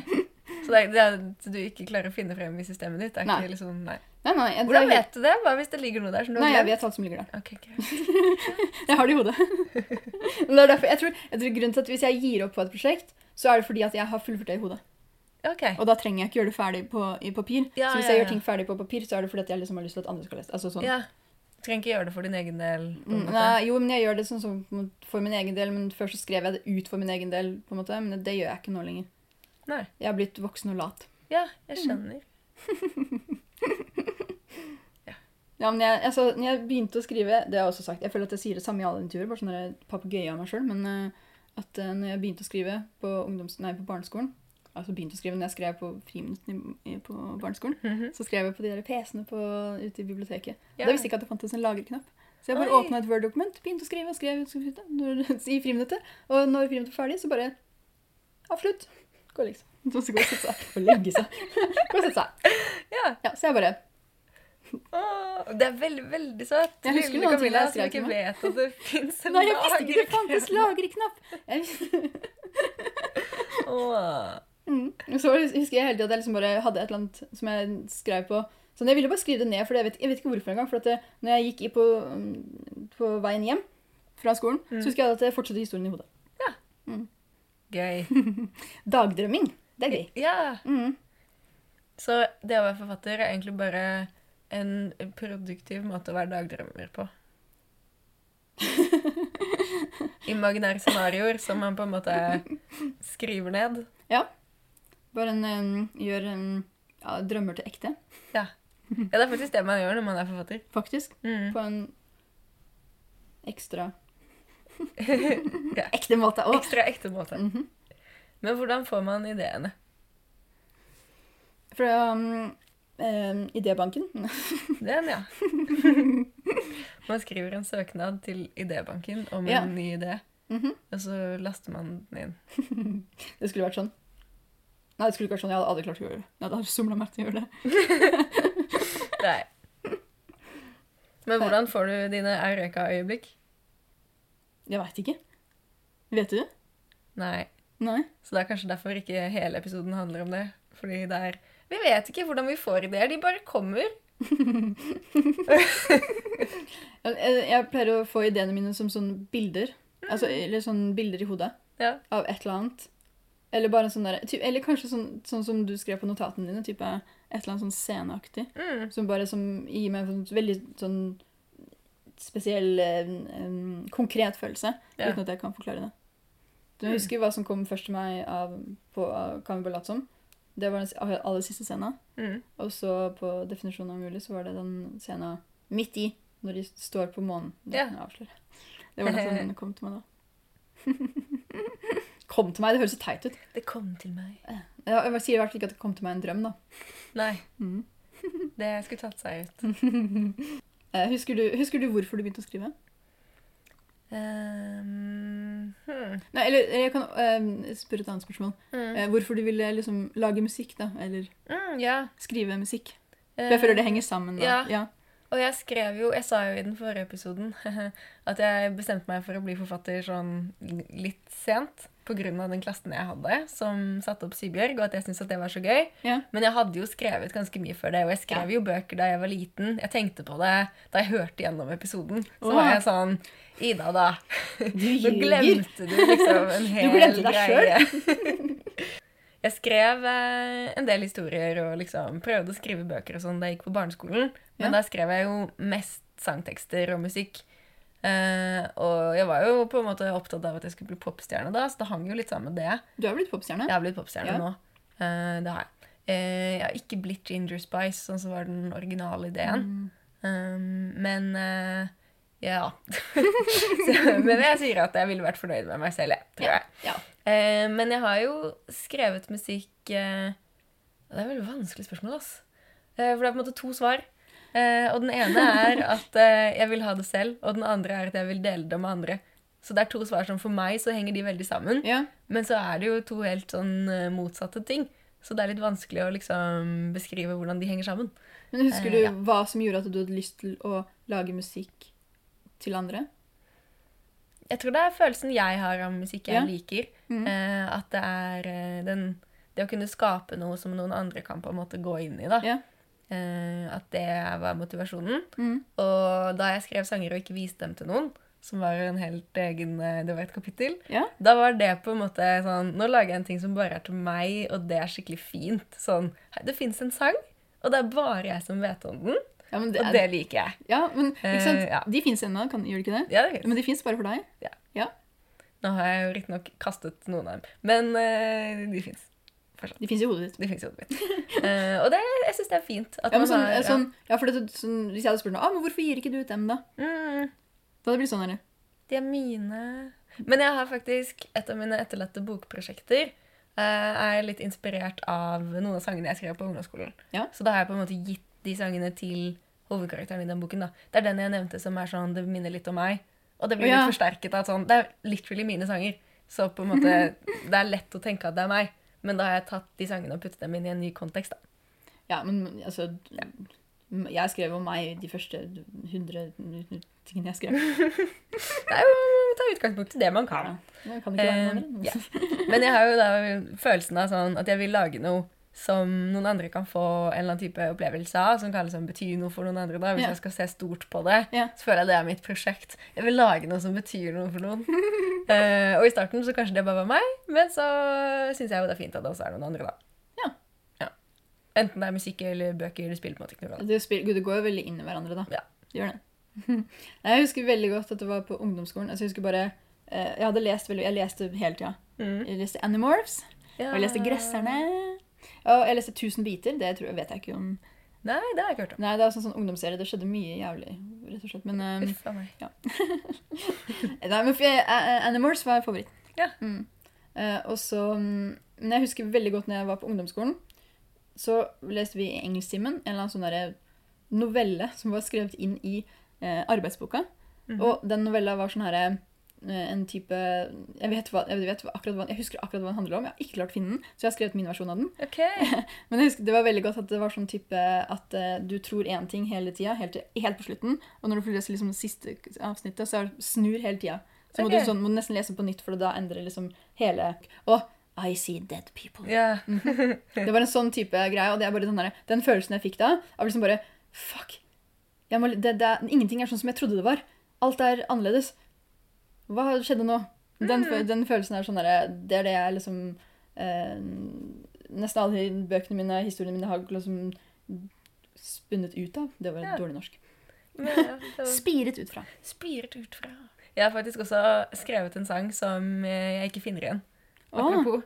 Så det, er- det er at du ikke klarer å finne frem i systemet ditt? Er
Nei.
Ikke liksom, nei.
Nei, nei, jeg,
Hvordan vet du det? Hva hvis det ligger noe der som du
Nei,
har
jeg vet alt som ligger der.
Ok, greit.
Jeg har det i hodet. Men det er derfor, jeg tror, jeg tror grunnen til at Hvis jeg gir opp på et prosjekt, så er det fordi at jeg har fullført det i hodet.
OK.
Og da trenger jeg ikke gjøre det ferdig på, i papir.
Ja,
så hvis
ja,
jeg
ja.
gjør ting ferdig på papir, så er det fordi at jeg liksom har lyst til at andre skal lese. Altså sånn.
Ja. Du trenger ikke gjøre det for din egen del. på
Mm,
en måte.
Nei, jo, men jeg gjør det sånn som for min egen del, men først så skrev jeg det ut for min egen del, på en måte, men det gjør jeg ikke nå lenger.
Nei.
Jeg har blitt voksen og lat.
Ja,
Mm.
jeg skjønner.
Ja, men jeg, altså, når jeg begynte å skrive, det har jeg også sagt, jeg føler at jeg sier det samme i alle intervjuer, bare sånn der papegøye av meg sjøl, men eh, at eh, når jeg begynte å skrive på, ungdoms, nei, på barneskolen, altså begynte å skrive når jeg skrev på friminuttene i- i- på barneskolen,
Mhm.
så skrev jeg på de der PC-ene på- ute i biblioteket.
Ja.
Da visste jeg ikke at det fantes en lagerknapp. Så jeg bare
Oi.
åpna et Word-dokument, begynte å skrive og skrev skrev, skrev, når- i friminuttet. Og når friminuttet var ferdig, så bare avslutt. Gå og legge seg. Så skal gå og sette seg. Gå og legge seg. Gå og sette seg.
Ja.
Ja, så jeg bare
Åh, det er veldig, veldig søtt.
Jeg husker
Lille
noen ting
Camilla
jeg
som
skrev til
ikke vet at det fins en
Nei, jeg visste ikke det
lagerkrem.
fantes lagreknapp! Jeg visste-
Åh.
Mm. Og Så husker jeg hele tiden at jeg liksom bare hadde et eller annet som jeg skrev på. Sånn, jeg ville bare skrive det ned, for jeg vet, jeg vet ikke hvorfor engang. For at det, når jeg gikk i på, mm, på veien hjem fra skolen,
Mm.
så husker jeg at jeg fortsatte historien i hodet.
Gøy.
Dagdrømming. Det er gøy.
Ja.
Mm.
Så det å være forfatter er egentlig bare en produktiv måte å være dagdrømmer på. Imaginære scenarioer som man på en måte skriver ned.
Bare en, em, gjør em, ja, drømmer til ekte,
Ja, det er faktisk det man gjør når man er forfatter.
faktisk.
Mm.
På en ekstra
Ja.
Ekte måte Mhm. òg.
Ekstra ekte måte. Men hvordan får man ideene?
Fra um, em, idébanken.
Den, ja. Man skriver en søknad til idébanken om en
Ja.
ny idé,
Mhm.
og så laster man den inn.
Det skulle vært sånn. Nei, det skulle ikke vært sånn. Jeg hadde aldri klart å gjøre det. Jeg hadde aldri somla meg til å gjøre det.
Nei. Men hvordan får du dine eureka-øyeblikk?
Jeg veit ikke. Vet du?
Nei.
Nei.
Så det er kanskje derfor ikke hele episoden handler om det. Fordi det er Vi vet ikke hvordan vi får ideer, de bare kommer.
Jeg, jeg eh, jeg pleier å få ideene mine som sånne bilder. Altså, eller sånne bilder i hodet.
Ja.
av et eller annet. Eller bare sånn der, ty- eller kanskje sånn, sånn som du skrev på notatene dine, type et eller annet sånn sceneaktig.
Mm.
Som bare som gir meg en sånn veldig sånn spesiell, eh, em, konkret følelse.
Ja.
Uten at jeg kan forklare det. Du
Mm.
husker hva som kom først til meg av, på av Kan vi bare late som? Det var den s- aller- aller siste scenen.
Mm.
Og så på definisjonen av mulig så var det den scenen midt i, når de står på månen. Det
Ja.
kan jeg avsløre. Det var den som kom til meg da. kom til meg, det høres så teit ut.
Det kom til meg.
Jeg, jeg bare sier i hvert fall ikke at det kom til meg en drøm, da.
Nei, det skulle tatt seg ut.
Eh, husker, du, husker du hvorfor du begynte å skrive?
Um, hmm.
Nei, eller jeg kan eh, spørre et annet spørsmål.
mm.
Eh, hvorfor du ville liksom lage musikk, da? Eller
Mm, ja.
skrive musikk? For jeg føler det henger sammen, da.
Eh, ja.
Ja.
Og jeg skrev jo Jeg sa jo i den forrige episoden at jeg bestemte meg for å bli forfatter sånn litt sent. Pga. den klassen jeg hadde, som satte opp Sybjørg, og at jeg syntes at det var så gøy.
Ja.
Men jeg hadde jo skrevet ganske mye før det, og jeg skrev jo bøker da jeg var liten. Jeg tenkte på det da jeg hørte gjennom episoden. Så
Åh.
var jeg sånn Ida, da.
Du
Nå glemte du liksom en hel
glemte deg
greie. Jeg skrev eh, en del historier og liksom prøvde å skrive bøker og sånn da jeg gikk på barneskolen. Men
Ja.
da skrev jeg jo mest sangtekster og musikk. Eh, og jeg var jo på en måte opptatt av at jeg skulle bli popstjerne da, så det hang jo litt sammen med det.
Du har blitt popstjerne?
Jeg har blitt popstjerne
Ja.
nå. Eh, det har jeg. Eh, jeg har ikke blitt Ginger Spice, sånn som var den originale ideen.
Mm.
Um, men eh, ja. så, men jeg sier at jeg ville vært fornøyd med meg selv, jeg, tror jeg.
Ja.
Eh, men jeg har jo skrevet musikk eh, Det er et veldig vanskelig spørsmål, ass. Eh, for det er på en måte to svar. Eh, og den ene er at eh, jeg vil ha det selv, og den andre er at jeg vil dele det med andre. Så det er to svar som for meg så henger de veldig sammen.
ja.
Men så er det jo to helt sånn eh, motsatte ting. Så det er litt vanskelig å liksom beskrive hvordan de henger sammen.
Men husker
Eh,
du
ja.
hva som gjorde at du hadde lyst til å lage musikk til andre?
Jeg tror det er følelsen jeg har av musikk jeg
Ja.
liker.
Mhm.
Eh, at det er eh, den Det å kunne skape noe som noen andre kan på en måte gå inn i, da.
Ja.
Eh, at det var motivasjonen.
Mhm.
Og da jeg skrev sanger og ikke viste dem til noen, som var en helt egen eh, Det var et kapittel.
Ja.
Da var det på en måte sånn Nå lager jeg en ting som bare er til meg, og det er skikkelig fint. Sånn hei, Det fins en sang, og det er bare jeg som vet om den.
Ja, men, det,
Og det liker jeg.
ja, men ikke sant?
Eh, ja.
De fins ennå, kan- gjør de ikke det?
Ja, det er fint.
Men de fins bare for deg?
Ja.
ja.
Nå har jeg jo riktignok kastet noen av dem, men eh, de fins.
De fins i hodet ditt.
De fins i hodet mitt. Eh, og det, jeg syns det er fint. At
Ja, men
man
sånn,
har- ja.
sånn, ja, for det, sånn, Hvis jeg hadde spurt noe, ah, men hvorfor gir ikke du ut dem, da? Da
Mm.
hadde det blitt sånn, eller?
De er mine. Men jeg har faktisk et av mine etterlatte bokprosjekter. eh, er litt inspirert av noen av sangene jeg skrev på ungdomsskolen.
Ja.
Så da har jeg på en måte gitt de sangene til hovedkarakteren i den boken. da. Det er den jeg nevnte som er sånn Det minner litt om meg. Og det blir
Å, ja.
litt forsterket av at sånn Det er literally mine sanger. Så på en måte Det er lett å tenke at det er meg. Men da har jeg tatt de sangene og puttet dem inn i en ny kontekst. da.
Ja, men altså m- Jeg skrev om meg de første 100 tingene jeg skrev.
Det er jo å ta utgangspunkt i det man kan.
Ja. Jeg kan ikke være
Eh,
noen andre.
ja. Men jeg har jo da følelsen av sånn at jeg vil lage noe som noen andre kan få en eller annen type opplevelse av, som kan liksom bety noe for noen andre. da, Hvis
Ja.
jeg skal se stort på det,
Ja.
så føler jeg det er mitt prosjekt. Jeg vil lage noe som betyr noe for noen. Eh, og i starten så kanskje det bare var meg, men så syns jeg jo det er fint at det også er noen andre, da.
Ja.
Ja. Enten det er musikk eller bøker, det spiller på en måte ikke noe rolle.
Det, spiller, Gud, det går jo veldig inn i hverandre, da.
Ja.
Det gjør det. Nei, jeg husker veldig godt at det var på ungdomsskolen. Altså, jeg husker bare, eh, jeg hadde lest veldig, jeg leste hele tida. Jeg leste Animorphs, og jeg
Ah.
leste Gresserne. Og jeg leste 1000 biter. Det tror jeg, vet jeg ikke om
Nei, det har jeg ikke hørt om.
Nei, det er sånn, sånn ungdomsserie. Det skjedde mye jævlig, rett og slett. Men, eh,
Uff a meg.
nei, men for jeg, eh, Animorphs var favoritt.
Ja.
Mm. Eh, og så mm, Men jeg husker veldig godt når jeg var på ungdomsskolen, så leste vi i engelsktimen en eller annen sånn derre novelle som var skrevet inn i eh, arbeidsboka.
Mhm.
Og den novella var sånn herre en type jeg, vet hva, jeg, vet hva, akkurat hva, jeg husker akkurat hva den handler om. Jeg har ikke klart å finne den, så jeg har skrevet min versjon av den.
Ok.
Men jeg husker, det var veldig godt at det var sånn type at eh, du tror én ting hele tida, helt, til- helt på slutten, og når du får lese liksom, det siste avsnittet, så er- snur hele tida. Så må du
Ok.
sånn, må du nesten lese på nytt, for da endrer liksom hele Og I see dead people.
Ja.
Det var en sånn type greie, og det er bare den, der, den følelsen jeg fikk da, av liksom bare Fuck! Jeg må, det, det, er- ingenting er sånn som jeg trodde det var. Alt er annerledes. Hva skjedde nå? Den,
Mm.
fø- den følelsen er sånn derre Det er det jeg liksom eh, Nesten alle bøkene mine, historiene mine, har liksom spunnet ut av. Det var
Ja.
dårlig norsk.
Men, ja, det var-
Spiret ut fra.
Spiret ut fra Jeg har faktisk også skrevet en sang som eh, jeg ikke finner igjen.
Ah.
Apropos.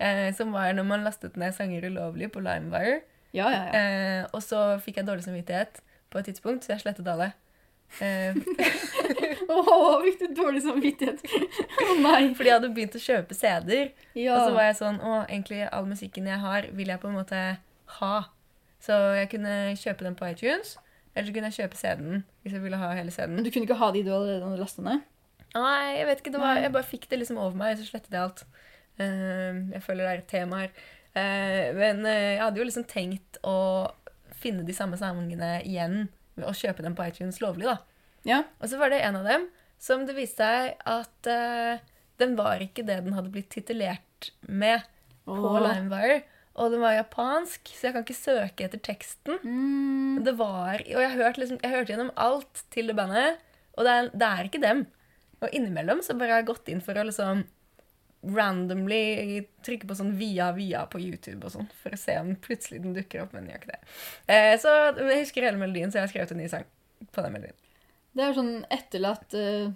Eh, som var når man lastet ned sanger ulovlig på Limewire.
Ja, ja, ja.
Eh, og så fikk jeg dårlig samvittighet på et tidspunkt, så jeg slettet alle. Eh,
Å, fikk du dårlig samvittighet? Å nei.
fordi jeg hadde begynt å kjøpe CD-er.
Ja.
Og så var jeg sånn Å, egentlig all musikken jeg har, vil jeg på en måte ha. Så jeg kunne kjøpe den på iTunes, eller så kunne jeg kjøpe CD-en hvis jeg ville ha hele CD-en.
Men du kunne ikke ha de du allerede hadde lastet ned?
Nei, jeg vet ikke. Det var,
Nei.
jeg bare fikk det liksom over meg, så slettet jeg alt. Ehm, jeg føler det er et tema her. Eh, men eh, jeg hadde jo liksom tenkt å finne de samme sangene igjen ved å kjøpe dem på iTunes lovlig, da.
Ja.
Og så var det en av dem som det viste seg at eh, den var ikke det den hadde blitt titulert med på
Åh.
Limewire. Og den var japansk, så jeg kan ikke søke etter teksten.
Mm.
Det var, og jeg hørte, liksom, jeg hørte gjennom alt til det bandet, og det er, det er ikke dem. Og innimellom så bare har jeg gått inn for å liksom randomly trykke på sånn via via på YouTube og sånn, for å se om plutselig den dukker opp, men den gjør ikke det. Eh, så men jeg husker hele melodien, så jeg har skrevet en ny sang på den melodien.
Det er sånn etterlatt eh,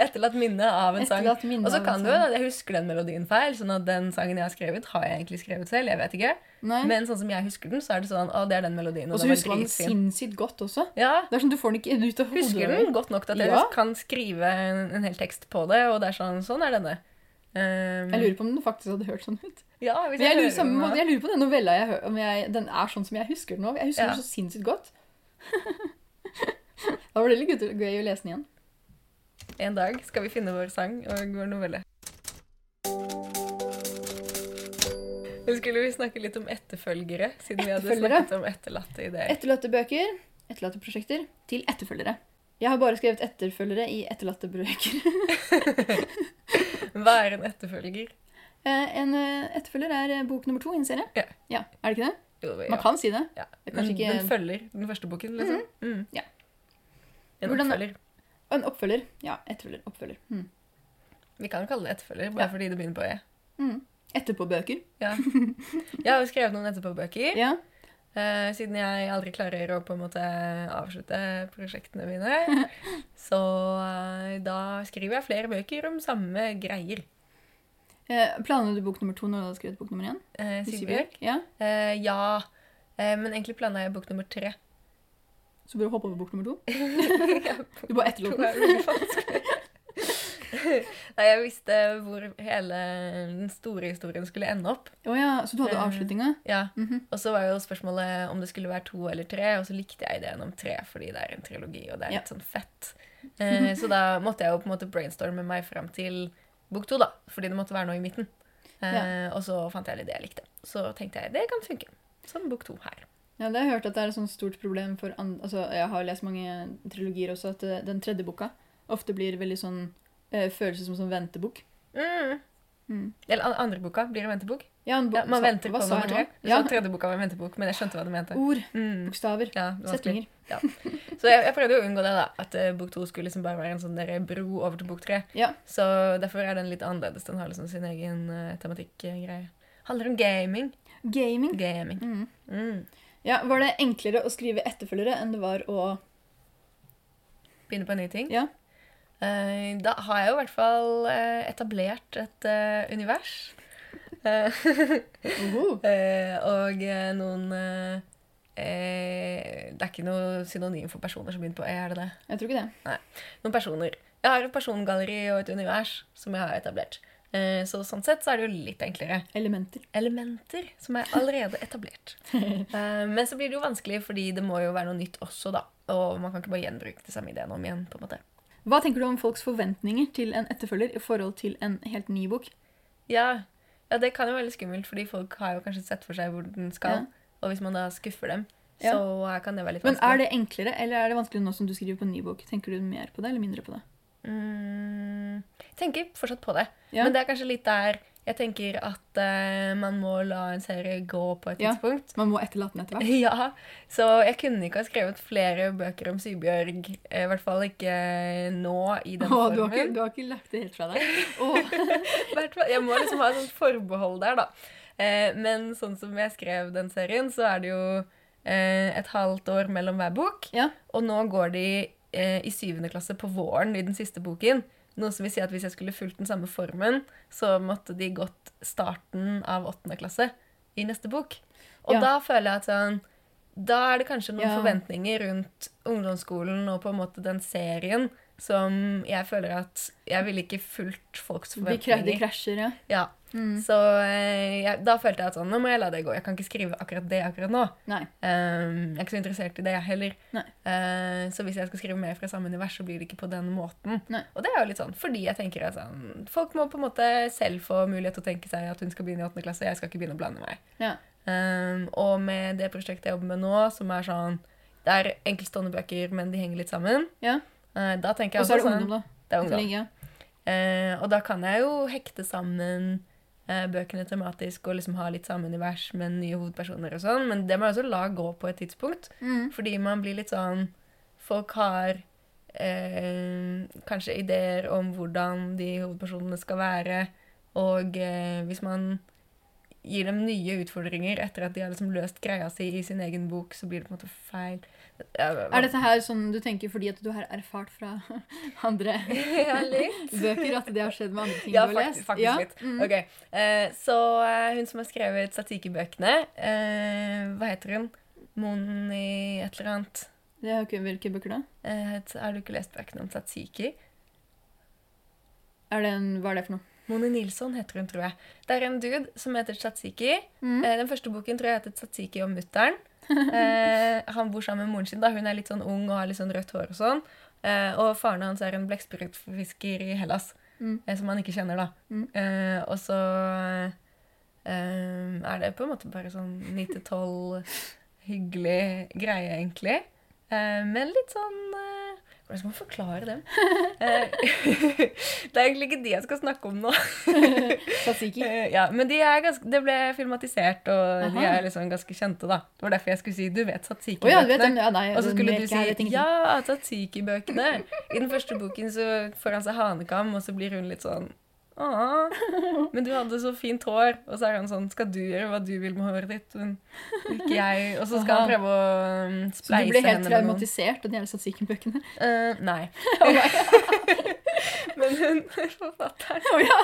Etterlatt minne av en sang.
Etterlatt minne
Og så
av en
kan det jo hende at jeg husker den melodien feil, sånn at den sangen jeg har skrevet, har jeg egentlig skrevet selv, jeg vet ikke.
Nei.
Men sånn som jeg husker den, så er det sånn, å, det er den melodien, og,
Og så
den
husker man den
dritfin.
sinnssykt godt også.
Ja,
Det er sånn Du får den ikke ut av hodet.
husker den godt nok til at jeg
Ja.
kan skrive en, en hel tekst på det, og det er sånn, sånn er denne. Um,
Jeg lurer på om den faktisk hadde hørt sånn ut.
ja, hvis
Men jeg lurer,
hører
samme
den nå.
måte, jeg lurer på den novella jeg hører, om jeg, den er sånn som jeg husker den nå. Jeg husker
Ja.
den så sinnssykt godt. da var det litt gøy- gøy å lese den igjen.
En dag skal vi finne vår sang og vår novelle. Nå skulle vi snakke litt om etterfølgere, siden vi hadde
Etterfølgere?
snakket om etterlatte ideer.
Etterlatte bøker, etterlatte prosjekter, til etterfølgere. Jeg har bare skrevet etterfølgere i etterlatte bøker.
Hva er en etterfølger?
Eh, en eh, etterfølger er eh, bok nummer to i en serie.
Ja.
Er det ikke det?
Jo, ja.
Man kan si det.
Ja.
Det er
Den,
kanskje ikke-
den følger den første boken, liksom. Mm.
Ja.
En
Hvordan-
oppfølger.
Å En oppfølger. Ja, etterfølger. Oppfølger.
Hmm.
Mm.
Vi kan kalle det etterfølger, bare
Ja.
fordi det begynner på E.
Mm. Etterpåbøker.
Ja. Jeg har jo skrevet noen etterpåbøker,
Ja.
eh, siden jeg aldri klarer å på en måte avslutte prosjektene mine. Så eh, da skriver jeg flere bøker om samme greier.
Eh, planla du bok nummer to når du hadde skrevet bok nummer én?
Eh, Sigbjørg?
Ja.
Eh, ja. Eh, men egentlig planla jeg bok nummer tre.
Så burde du hoppe over bok nummer to.
du
bare etterlot den.
Nei, jeg visste hvor hele den store historien skulle ende opp.
Å ja, så du hadde
Eh.
avslutninga?
Ja.
Mhm.
Og så var jo spørsmålet om det skulle være to eller tre, og så likte jeg ideen om tre fordi det er en trilogi, og det er
Ja.
litt sånn fett. Eh, så da måtte jeg jo på en måte brainstorme meg fram til bok to, da, fordi det måtte være noe i midten. Eh, Og så fant jeg litt det jeg likte. Så tenkte jeg det kan funke som bok to her.
Ja, det har jeg hørt at det er et sånt stort problem for an altså, Jeg har lest mange trilogier også, at eh, den tredje boka ofte blir veldig sånn eh, Føles som en sånn ventebok.
Mm.
Mm.
Eller an- andre boka blir en ventebok.
Ja, en bok-
Ja, man
sa-
venter på
hva sa
nummer
jeg
tre.
nå?
Ja.
Ja,
Så tredje boka var en ventebok, men jeg skjønte hva du mente.
ord,
Mm.
bokstaver,
Ja, det var vanskelig.
setninger.
Så jeg, jeg prøvde jo å unngå det, da. At eh, bok to skulle liksom bare være en sånn der bro over til bok tre.
Ja.
Så derfor er den litt annerledes. Den har liksom sin egen eh, tematikkgreie. Handler om gaming.
Gaming.
Gaming.
Mm.
Mm.
Ja, Var det enklere å skrive etterfølgere enn det var å
Begynne på en ny ting.
Ja.
Eh, da har jeg jo i hvert fall eh, etablert et eh, univers. Eh,
Oho.
Eh, og eh, noen eh, eh, Det er ikke noe synonym for personer som begynner på E, er det det?
Jeg tror ikke det.
Noen personer. Jeg har et persongalleri og et univers som jeg har etablert. Eh, så sånn sett så er det jo litt enklere.
Elementer.
Elementer som er allerede etablert. Eh, men så blir det jo vanskelig, fordi det må jo være noe nytt også, da. Og man kan ikke bare gjenbruke de samme ideene om igjen, på en måte.
Hva tenker du om folks forventninger til en etterfølger i forhold til en helt ny bok?
Ja, ja det kan jo være litt skummelt, fordi folk har jo kanskje sett for seg hvor den skal. Og hvis man da skuffer dem,
Ja.
så eh, kan det være litt
Men
vanskelig.
er det enklere, eller er det vanskelig nå som du skriver på en ny bok? Tenker du mer på det, eller mindre på det?
Mm, jeg tenker fortsatt på det.
Ja.
Men det er kanskje litt der jeg tenker at eh, man må la en serie gå på et
Ja.
tidspunkt.
Man må etterlate den etter hvert.
Ja, Så jeg kunne ikke ha skrevet flere bøker om Sybjørg. eh, I hvert fall ikke eh, nå i den
Å, du har, ikke,
formen.
du har ikke lagt det helt fra deg? Å,
I hvert fall- Jeg må liksom ha et sånt forbehold der, da. Eh, men sånn som jeg skrev den serien, så er det jo eh, et halvt år mellom hver bok.
Ja.
Og nå går de eh, i syvende klasse på våren i den siste boken. Noe som vil si at hvis jeg skulle fulgt den samme formen, så måtte de gått starten av åttende klasse i neste bok. Og
Ja.
da føler jeg at sånn Da er det kanskje noen
Ja.
forventninger rundt ungdomsskolen og på en måte den serien som jeg føler at Jeg ville ikke fulgt folks
de, kra- de
forventninger.
krasjer, ja.
Ja.
Mm.
Så eh, jeg, da følte jeg at sånn, nå må jeg la det gå. Jeg kan ikke skrive akkurat det akkurat nå.
Nei.
Ehm, jeg er ikke så interessert i det, jeg heller.
Nei.
Eh, så hvis jeg skal skrive mer fra samme univers, så blir det ikke på den måten.
Nei.
Og det er jo litt sånn, fordi jeg tenker at sånn, folk må på en måte selv få mulighet til å tenke seg at hun skal begynne i 8. klasse, jeg skal ikke begynne å blande meg.
Ja.
Ehm, og med det prosjektet jeg jobber med nå, som er sånn, det er enkeltstående bøker, men de henger litt sammen.
Ja.
Eh, da tenker jeg
Og så er det
også sånn,
ungdom, da.
det er
Så
ungdom.
lenge, ja.
Eh, og da kan jeg jo hekte sammen eh, bøkene tematisk og liksom ha litt samme univers med nye hovedpersoner og sånn, men det må jeg også la gå på et tidspunkt.
Mm.
Fordi man blir litt sånn Folk har eh, kanskje ideer om hvordan de hovedpersonene skal være, og eh, hvis man gir dem nye utfordringer etter at de har liksom løst greia si i sin egen bok, så blir det på en måte feil.
Er dette her sånn du tenker fordi at du har erfart fra andre
ja, litt?
bøker? At det har skjedd med andre ting
Ja,
du har lest?
faktisk, faktisk litt.
Mm.
Ok, eh, Så eh, hun som har skrevet statikkebøkene eh, Hva heter hun? Moni et eller annet.
Det er jo ikke, hvilke bøker da?
Eh, het- har du ikke lest bøkene om Tatsiki?
Er det en, hva er det for noe?
Moni Nilsson heter hun, tror jeg. Det er en dude som heter Tatsiki.
Mm.
Eh, den første boken tror jeg heter Tatsiki og mutter'n. Eh, han bor sammen med moren sin. da. Hun er litt sånn ung og har litt sånn rødt hår og sånn. Eh, og faren hans er en blekkspruttfisker i Hellas,
Mm.
eh, som han ikke kjenner, da.
Mm.
Eh, og så eh, er det på en måte bare sånn 9-12 hyggelig greie, egentlig. Eh, men litt sånn eh, Hvordan skal man forklare dem? Eh, det er egentlig ikke de jeg skal snakke om nå.
Tzatziki.
Eh, ja, men de er ganske, det ble filmatisert, og de
Aha.
er liksom ganske kjente. da. Det var derfor jeg skulle si 'du vet
Å ja, du vet
tzatziki-bøkene'.
den? Ja, nei,
og så
den
skulle
vet
du
ikke jeg, vet
si
ingenting.
'ja, tzatziki-bøkene'. I den første boken så får han seg hanekam, og så blir hun litt sånn Åh, men du hadde så fint hår. Og så er han sånn Skal du gjøre hva du vil med håret ditt? Men ikke jeg. Og så skal han
Aha.
prøve å um,
Så du
spleise
ble
henne
helt
med noen.
traumatisert av de hele Tzatziki-bøkene?
Eh, nei.
Oh
Men hun, forfatteren
Å ja.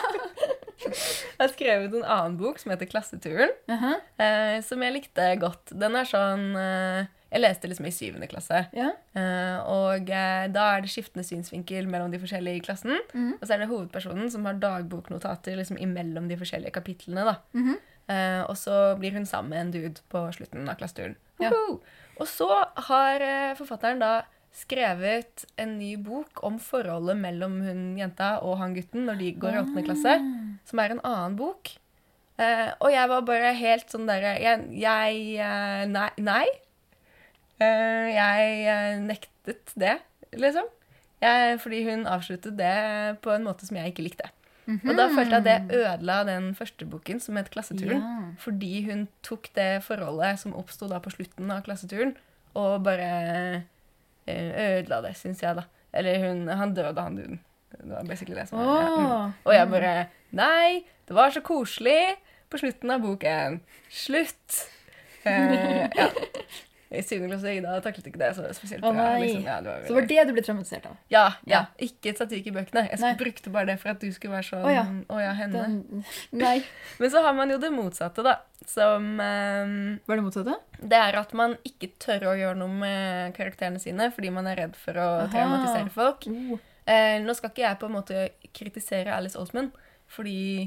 har skrevet en annen bok som heter 'Klasseturen',
Aha.
eh, som jeg likte godt. Den er sånn eh, Jeg leste liksom i syvende klasse.
Ja.
Eh, og eh, da er det skiftende synsvinkel mellom de forskjellige i klassen.
Mhm.
Og så er det hovedpersonen som har dagboknotater liksom imellom de forskjellige kapitlene. da.
Mhm.
Eh, og så blir hun sammen med en dude på slutten av klasseturen.
Ja.
Woho! Og så har eh, forfatteren da skrevet en ny bok om forholdet mellom hun jenta og han gutten når de går i åttende klasse, som er en annen bok. Eh, og jeg var bare helt sånn derre Jeg, jeg eh, Nei. nei. Eh, jeg eh, nektet det, liksom. Jeg, fordi hun avsluttet det på en måte som jeg ikke likte. Og da følte jeg at det ødela den første boken, som het 'Klasseturen'.
Ja.
Fordi hun tok det forholdet som oppsto da på slutten av klasseturen, og bare eh, ødela det, syns jeg, da. Eller hun, han døde, han duden. Det var basically det som var ja. mm.
Åh.
Og jeg bare Nei, det var så koselig på slutten av boken. Slutt! Eh, ja. I syvende klasse Ida taklet ikke det så spesielt liksom.
Å, nei.
ja, det var
Så var
veldig-
det du ble traumatisert av?
ja, ja. Ikke statikk i bøkene. Jeg
Nei.
brukte bare det for at du skulle være sånn
Å, ja.
Å ja, henne.
Den, nei.
Men så har man jo det motsatte, da. Som eh,
Var det motsatte?
Det er at man ikke tør å gjøre noe med karakterene sine fordi man er redd for å
Aha.
traumatisere folk.
Oh.
Eh, nå skal ikke jeg på en måte kritisere Alice Osman, fordi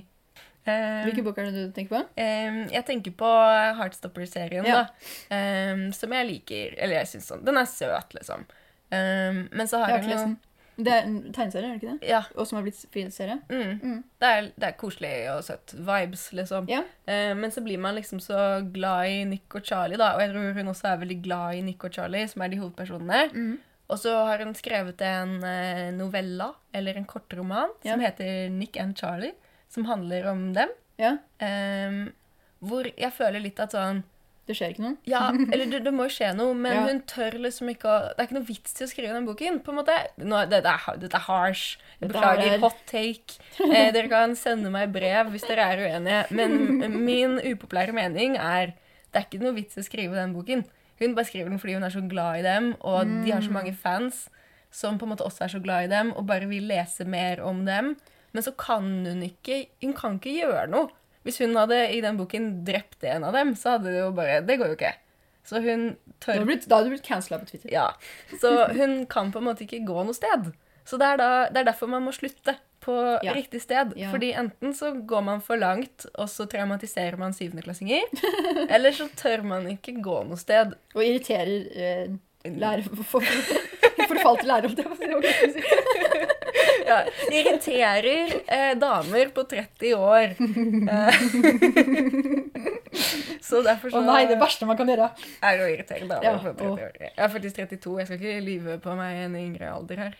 eh,
Hvilken bok er det du tenker på?
eh, Jeg tenker på Heartstopper-serien,
Ja.
da. Eh, som jeg liker. Eller jeg syns sånn Den er søt, liksom. Eh, men så
Jeg har
har hun
ikke
jo
lest den. Det er en tegneserie, er det ikke det?
Ja.
Og som har blitt filmserie?
Mm.
Mm.
Det, er, det er koselig og søtt. Vibes, liksom.
Ja.
Eh, men så blir man liksom så glad i Nick og Charlie, da. Og jeg tror hun også er veldig glad i Nick og Charlie, som er de hovedpersonene.
Mm.
Og så har hun skrevet en eh, novella, eller en kortroman,
Ja.
som heter Nick and Charlie, som handler om dem.
Ja.
Eh, hvor jeg føler litt at sånn
Det skjer ikke noe?
Ja, eller det, det må jo skje noe, men
Ja.
hun tør liksom ikke å Det er ikke noe vits i å skrive den boken, på en måte. Nå, det, det, er, dette er harsh. Jeg
Dette er-
Beklager. Hot take. Eh, dere kan sende meg brev hvis dere er uenige. Men min upopulære mening er det er ikke noe vits i å skrive den boken. Hun bare skriver den fordi hun er så glad i dem, og
Mm.
de har så mange fans som på en måte også er så glad i dem, og bare vil lese mer om dem. Men så kan hun ikke Hun kan ikke gjøre noe. Hvis hun hadde i den boken drept en av dem, så hadde det jo bare Det går jo ikke. Så hun
Da hadde
tør
du blitt, da hadde du blitt cancella på Twitter.
Ja. Så hun kan på en måte ikke gå noe sted. Så det er, da, det er derfor man må slutte på
Ja.
riktig sted.
Ja.
Fordi enten så går man for langt, og så traumatiserer man syvendeklassinger. eller så tør man ikke gå noe sted.
Og irriterer eh,
Mm.
lærer... For, for, forfall til lærer, holdt jeg på å si. Det var ikke det jeg skulle si.
Ja, irriterer eh, damer på 30 år. Eh, så derfor
Å
så
nei, det verste man kan gjøre.
er det å irritere damer
Ja,
på 30 år. Jeg er faktisk 32. Jeg skal ikke lyve på meg en yngre alder her.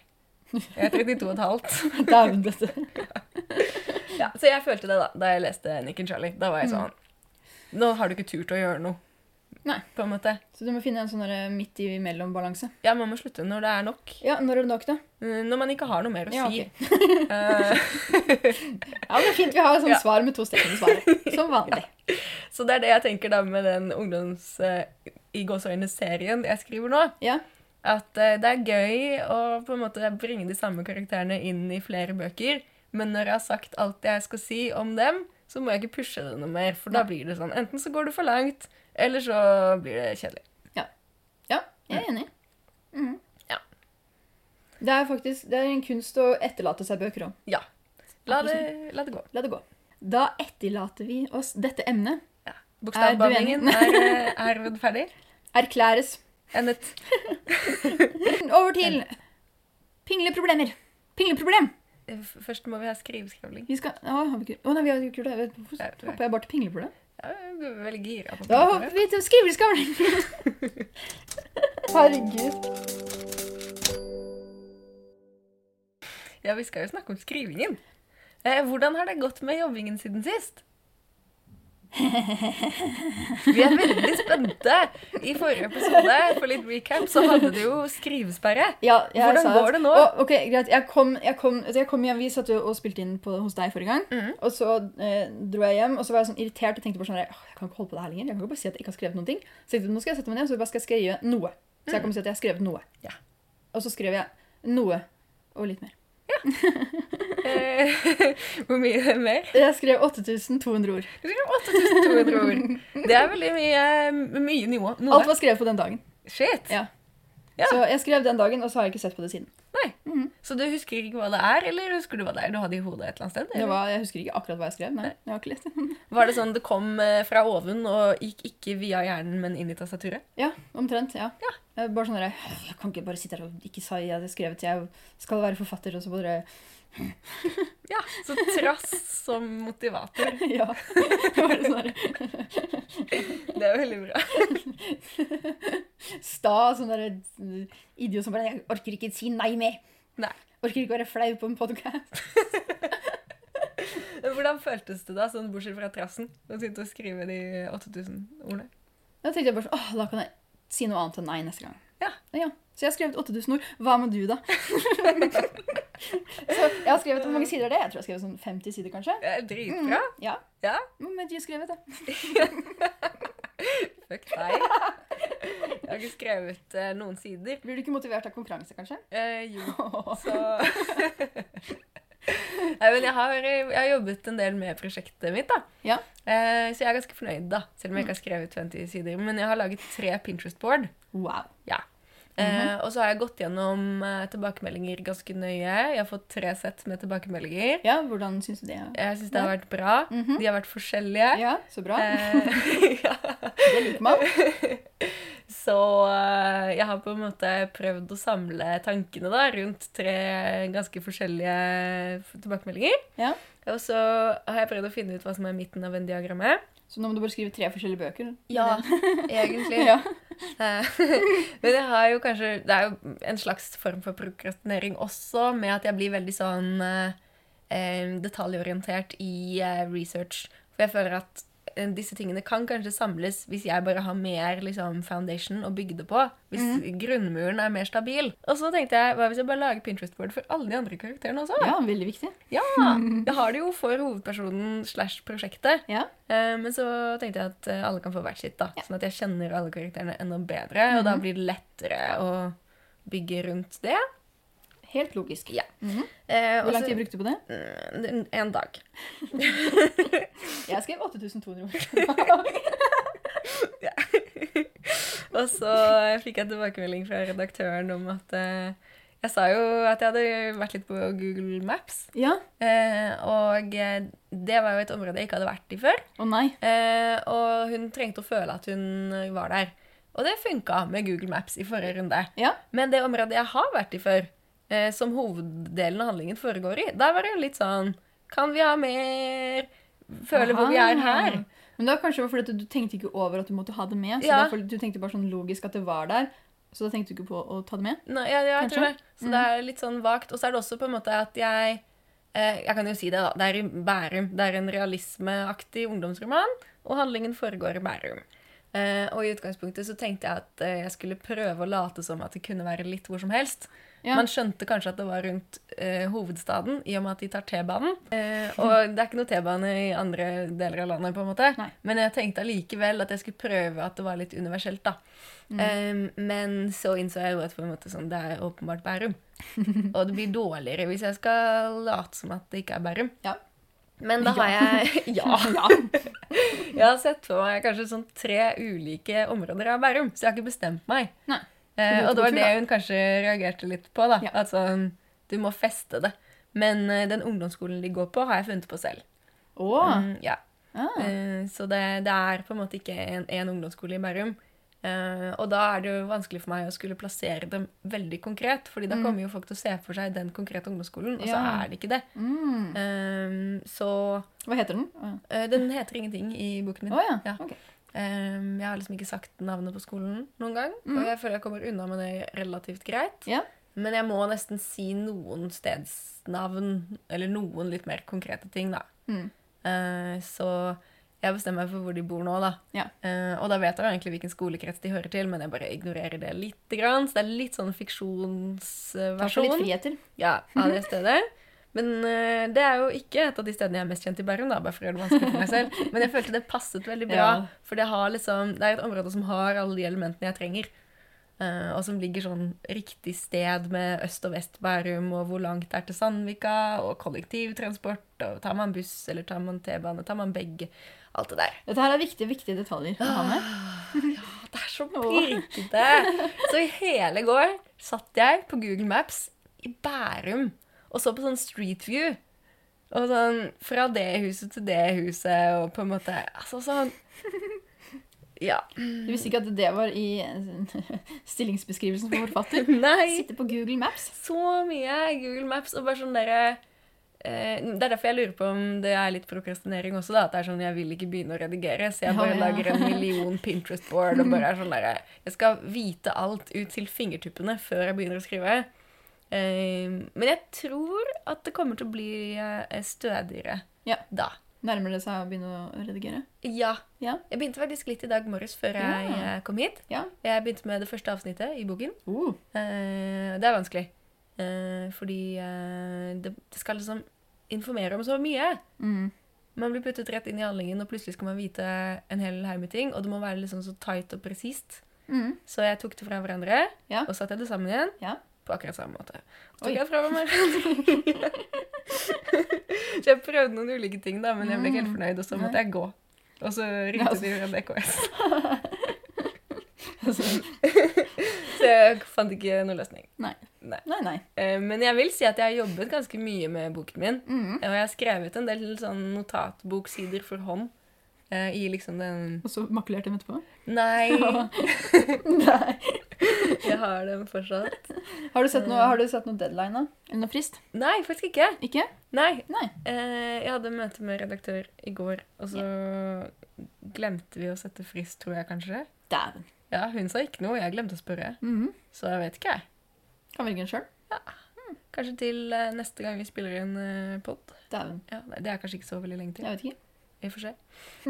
Jeg er 32 og et halvt.
Dæven dette.
Ja, så jeg følte det da da jeg leste Nick and Charlie. Da var jeg sånn Nå har du ikke tur til å gjøre noe.
Nei.
På en måte.
Så du må finne en sånn der midt imellom-balanse.
Ja, man må slutte når det er nok.
Ja, når er det nok, da?
Eh, Når man ikke har noe mer å
Ja,
si.
ok.
Eh,
Ja, men det er fint. Vi har sånn
Ja.
svar med to streker i svaret. Som vanlig.
så det er det jeg tenker da med den ungdoms... eh, i gåseøyne-serien jeg skriver nå.
Ja.
At eh, det er gøy å på en måte bringe de samme karakterene inn i flere bøker, men når jeg har sagt alt jeg skal si om dem, så må jeg ikke pushe det noe mer, for da blir det sånn enten så går det for langt, eller så blir det kjedelig.
Ja, jeg er enig. Mhm.
Ja.
Det er faktisk det er en kunst å etterlate seg bøker om.
Ja. La det, la det gå.
La det gå. Da etterlater vi oss dette emnet.
Ja. Bokstavblandingen er, eh, er ferdig.
Erklæres
Endet.
over til pingleproblemer. Pingleproblem!
Eh, f- Først må vi ha skriveskravling.
Vi skal Å, har vi ikke Å nei, vi har ikke gjort det. Hvorfor
Jeg tror jeg-
hopper jeg bare til pingleproblem?
Ja, jeg er veldig gira på
Da
det.
hopper vi til skriveskavling. Herregud.
Ja, vi skal jo snakke om skrivingen. Eh, hvordan har det gått med jobbingen siden sist? Vi er veldig spente. I forrige episode for litt recap, så hadde du jo skrivesperre.
Ja, jeg
Hvordan
sa
går
at-
det nå?
Å, ok, greit. Jeg kom, jeg kom, altså, jeg kom hjem, Vi satt jo og spilte inn på, hos deg forrige gang.
Mhm.
Og så eh, dro jeg hjem, og så var jeg sånn irritert og tenkte bare sånn her, «Åh, Jeg kan ikke holde på det her lenger. Jeg kan ikke bare si at jeg ikke har skrevet noen ting. Så jeg tenkte, nå skal jeg sette meg ned og så bare skal jeg skrive noe. Så jeg kommer til å si at jeg har skrevet noe.
Mhm. Ja.
Og så skrev jeg noe og litt mer.
Eh, Hvor mye mer?
Jeg skrev 8200 ord.
Du skrev 8200 ord. Det er veldig mye, mye nivå.
Alt
Noe.
var skrevet på den dagen.
Shit.
Ja.
Ja.
Så jeg skrev den dagen, og så har jeg ikke sett på det siden. Mm.
Så du husker ikke hva det er, eller husker du hva det er du hadde i hodet et eller annet sted?
Det
eller?
var, jeg husker ikke akkurat hva jeg skrev. Nei, jeg har ikke lest det.
Var det sånn det kom eh, fra oven og gikk ikke via hjernen, men inn i tastaturet?
Ja, omtrent. ja. Jeg Bare sånn der, Jeg kan ikke bare sitte her og ikke si at jeg skrev til jeg skal være forfatter, og så bare
Ja, så trass som motivator.
Ja. Bare sånn der,
Det er veldig bra.
sta sånn der idiot som bare Jeg orker ikke si nei mer.
Nei.
Orker ikke være flau på en podkast.
Men Hvordan føltes det da, sånn bortsett fra trassen, å sitte og skrive de 8000 ordene?
Da tenkte jeg bare sånn Åh, da kan jeg si noe annet enn nei neste gang.
Ja.
Så jeg har skrevet 8000 ord. Hva med du, da? så jeg har skrevet Hvor mange sider er det? Jeg tror jeg har skrevet sånn 50 sider, kanskje.
Det er dritbra.
Ja.
Mm. Ja.
Hvor mye har du skrevet, da?
Fuck deg. Jeg har ikke skrevet eh, noen sider.
Blir du ikke motivert av konkurranse, kanskje?
Eh, jo, så Nei, men jeg har, eh, jeg har jobbet en del med prosjektet mitt, da.
Ja.
Eh, så jeg er ganske fornøyd, da. Selv om jeg ikke har skrevet 20 sider. Men jeg har laget tre Pinterest-board.
Wow. Mhm.
Eh, og så har jeg gått gjennom eh, tilbakemeldinger ganske nøye. Jeg har fått tre sett med tilbakemeldinger.
Ja, hvordan syns du det?
Jeg syns det har vært bra.
Mhm.
De har vært forskjellige.
Ja, så bra.
Eh, ja.
Det liker man.
Så eh, jeg har på en måte prøvd å samle tankene da, rundt tre ganske forskjellige f- tilbakemeldinger.
Ja.
Og så har jeg prøvd å finne ut hva som er midten av Venn-diagrammet.
Så nå må du bare skrive tre forskjellige bøker.
Ja, egentlig.
Ja.
Eh, Men jeg har jo kanskje Det er jo en slags form for prokrastinering også, med at jeg blir veldig sånn eh, eh, detaljorientert i eh, research. For jeg føler at eh, disse tingene kan kanskje samles hvis jeg bare har mer liksom, foundation å bygge det på. Hvis grunnmuren er mer stabil. Og så tenkte jeg, hva hvis jeg bare lager Pinterest-board for alle de andre karakterene også?
ja, veldig viktig.
Ja! Jeg har det jo for hovedpersonen slash prosjektet.
Ja.
Eh, Men så tenkte jeg at eh, alle kan få hvert sitt, da. Sånn at jeg kjenner alle karakterene enda bedre, og
Mhm.
da blir det lettere å bygge rundt det.
Helt logisk.
Ja. Eh,
Mhm. Hvor lang
og så-
tid brukte du på det?
Mm, En dag.
Jeg skrev 8200 ord.
Og så fikk jeg tilbakemelding fra redaktøren om at eh, Jeg sa jo at jeg hadde vært litt på Google Maps,
Ja.
eh, og eh, det var jo et område jeg ikke hadde vært i før.
Å nei.
Eh, og hun trengte å føle at hun var der. Og det funka med Google Maps i forrige runde.
Ja.
Men det området jeg har vært i før, eh, som hoveddelen av handlingen foregår i, der var det litt sånn Kan vi ha mer? Føle hvor vi
Ah.
er her.
Aha. Men det var kanskje fordi at du tenkte ikke over at du måtte ha det med. Så
Ja.
derfor, du tenkte bare sånn logisk at det var der. Så da tenkte du ikke på å ta det med.
Nei, ja, ja, jeg tror
Kanskje?
det. Så det er litt sånn vagt. Og så er det også på en måte at jeg eh, Jeg kan jo si det, da. Det er i Bærum. Det er en realismeaktig ungdomsroman, og handlingen foregår i Bærum. Eh, og i utgangspunktet så tenkte jeg at eh, jeg skulle prøve å late som at det kunne være litt hvor som helst.
Ja.
Man skjønte kanskje at det var rundt eh, hovedstaden, i og med at de tar T-banen. Eh, og det er ikke noe T-bane i andre deler av landet, på en måte.
Nei.
Men jeg tenkte allikevel at jeg skulle prøve at det var litt universelt, da.
Mm.
Eh, men så innså jeg jo at på en måte sånn, det er åpenbart Bærum. Og det blir dårligere hvis jeg skal late som at det ikke er Bærum.
Ja.
Men da har jeg Ja.
ja.
Jeg har sett for meg kanskje sånn tre ulike områder av Bærum, så jeg har ikke bestemt meg.
Nei.
Eh, og det var
Tur,
det
da.
hun kanskje reagerte litt på. da.
Ja.
At sånn, du må feste det. Men eh, den ungdomsskolen de går på, har jeg funnet på selv.
Å.
Mm, ja.
Ah.
Eh, så det, det er på en måte ikke en, en ungdomsskole i Bærum. Eh, og da er det jo vanskelig for meg å skulle plassere dem veldig konkret. fordi da kommer jo folk til å se for seg den konkrete ungdomsskolen, og så
Mm. Ja.
er det ikke det.
Mm.
Eh, så
Hva heter den? Å
eh, Den heter ingenting i boken min.
ja. Å, ja.
Ja.
Ok.
Ehm, jeg har liksom ikke sagt navnet på skolen noen gang, og jeg føler jeg kommer unna med det relativt greit.
Mm. Ja.
Men jeg må nesten si noen stedsnavn, eller noen litt mer konkrete ting, da.
Mm.
Eh, så jeg bestemmer meg for hvor de bor nå, da.
Ja.
Eh, og da vet jeg jo egentlig hvilken skolekrets de hører til, men jeg bare ignorerer det lite grann. Så det er litt sånn
Ta for litt
fiksjonsversjon
friheter.
ja, av det stedet. Men eh, det er jo ikke et av de stedene jeg er mest kjent i Bærum, da, bare for å gjøre det vanskelig for meg selv. Men jeg følte det passet veldig bra,
Ja.
for det, har liksom, det er et område som har alle de elementene jeg trenger. eh, og som ligger sånn riktig sted med øst og vest Bærum, og hvor langt det er til Sandvika, og kollektivtransport, og tar man buss, eller tar man T-bane, tar man begge. Alt det der.
Dette her er viktige, viktige detaljer
Ah.
å ha med.
Å, det er så
Åh.
pirkete! Så i hele går satt jeg på Google Maps i Bærum og så på sånn Street View. Og sånn fra det huset til det huset og på en måte Altså sånn Ja.
Du visste ikke at det var i eh, stillingsbeskrivelsen for forfatter.
Nei!
Sitte på Google Maps.
Så mye Google Maps og bare sånn derre eh, Det er derfor jeg lurer på om det er litt prokrastinering også, da. At det er sånn jeg vil ikke begynne å redigere, så jeg
Ja,
bare
ja.
lager en million Pinterest-board og bare er sånn derre Jeg skal vite alt ut til fingertuppene før jeg begynner å skrive. Eh, men jeg tror at det kommer til å bli eh, stødigere
Ja.
da.
Nærmer det seg å begynne å redigere?
Ja.
Ja.
Jeg begynte faktisk litt i dag morges før jeg
Ja.
eh, kom hit.
Ja.
Jeg begynte med det første avsnittet i boken.
Uh,
Eh, det er vanskelig. Eh, fordi eh, det, det skal liksom informere om så mye.
mm.
Man blir puttet rett inn i handlingen, og plutselig skal man vite en hel haug med ting. Og det må være liksom så tight og presist.
Mm.
Så jeg tok det fra hverandre,
Ja.
og satte det sammen igjen.
Ja.
På akkurat samme måte. Så
Oi.
tok jeg fra hverandre. så jeg prøvde noen ulike ting, da, men jeg ble ikke helt fornøyd, og så måtte jeg gå. Og så
Mm. Ja,
ringte
altså.
de fra DKS.
Altså,
Så jeg fant ikke noen løsning.
nei, nei.
Eh, Men jeg vil si at jeg har jobbet ganske mye med boken min.
Mm.
Og jeg har skrevet en del sånn notatboksider for hånd eh, i liksom den
Og så makulert dem etterpå?
Nei,
nei.
jeg har den fortsatt.
Har du sett noe, har du sett noe deadline, da? Eller noe frist?
Nei, faktisk ikke.
Ikke?
Nei.
Nei.
Eh, jeg hadde møte med redaktør i går, og så glemte vi å sette frist, tror jeg kanskje.
Dæven.
Ja, hun sa ikke noe, jeg glemte å spørre.
Mhm.
Så jeg vet ikke, jeg.
Kan velge en sjøl.
Kanskje til eh, neste gang vi spiller en eh, pod.
Dæven.
Ja, nei, det er kanskje ikke så veldig lenge til.
Jeg vet ikke.
Vi får se. Eh,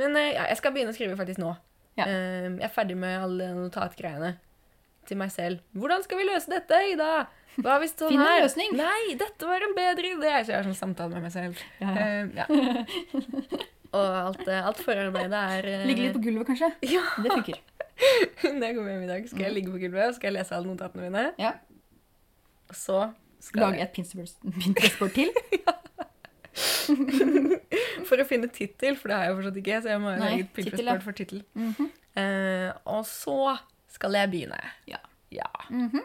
men eh, ja, jeg skal begynne å skrive faktisk nå.
Ja.
Eh, jeg er ferdig med alle notatgreiene til meg selv. Hvordan skal vi løse dette, Ida? Hva hvis sånn
Finn en
her?
løsning.
Nei, dette var en bedre idé! Så jeg har sånn samtale med meg selv.
Ja, ja.
Eh, ja. Og alt, eh, alt forarbeidet er eh,
Ligge litt på gulvet, kanskje?
Ja,
Det funker.
Når jeg kommer hjem i dag, skal jeg ligge på gulvet og skal jeg lese alle notatene mine.
Ja.
Og så skal
Lage et Pinterest- Pinterest-board til.
jeg For å finne tittel, for det har jeg jo fortsatt ikke, så jeg må jo
Nei,
lage et
tittel, ja.
Pinterest-board for tittel.
Mhm.
Eh, og så skal jeg begynne.
Ja.
Ja.
Mhm.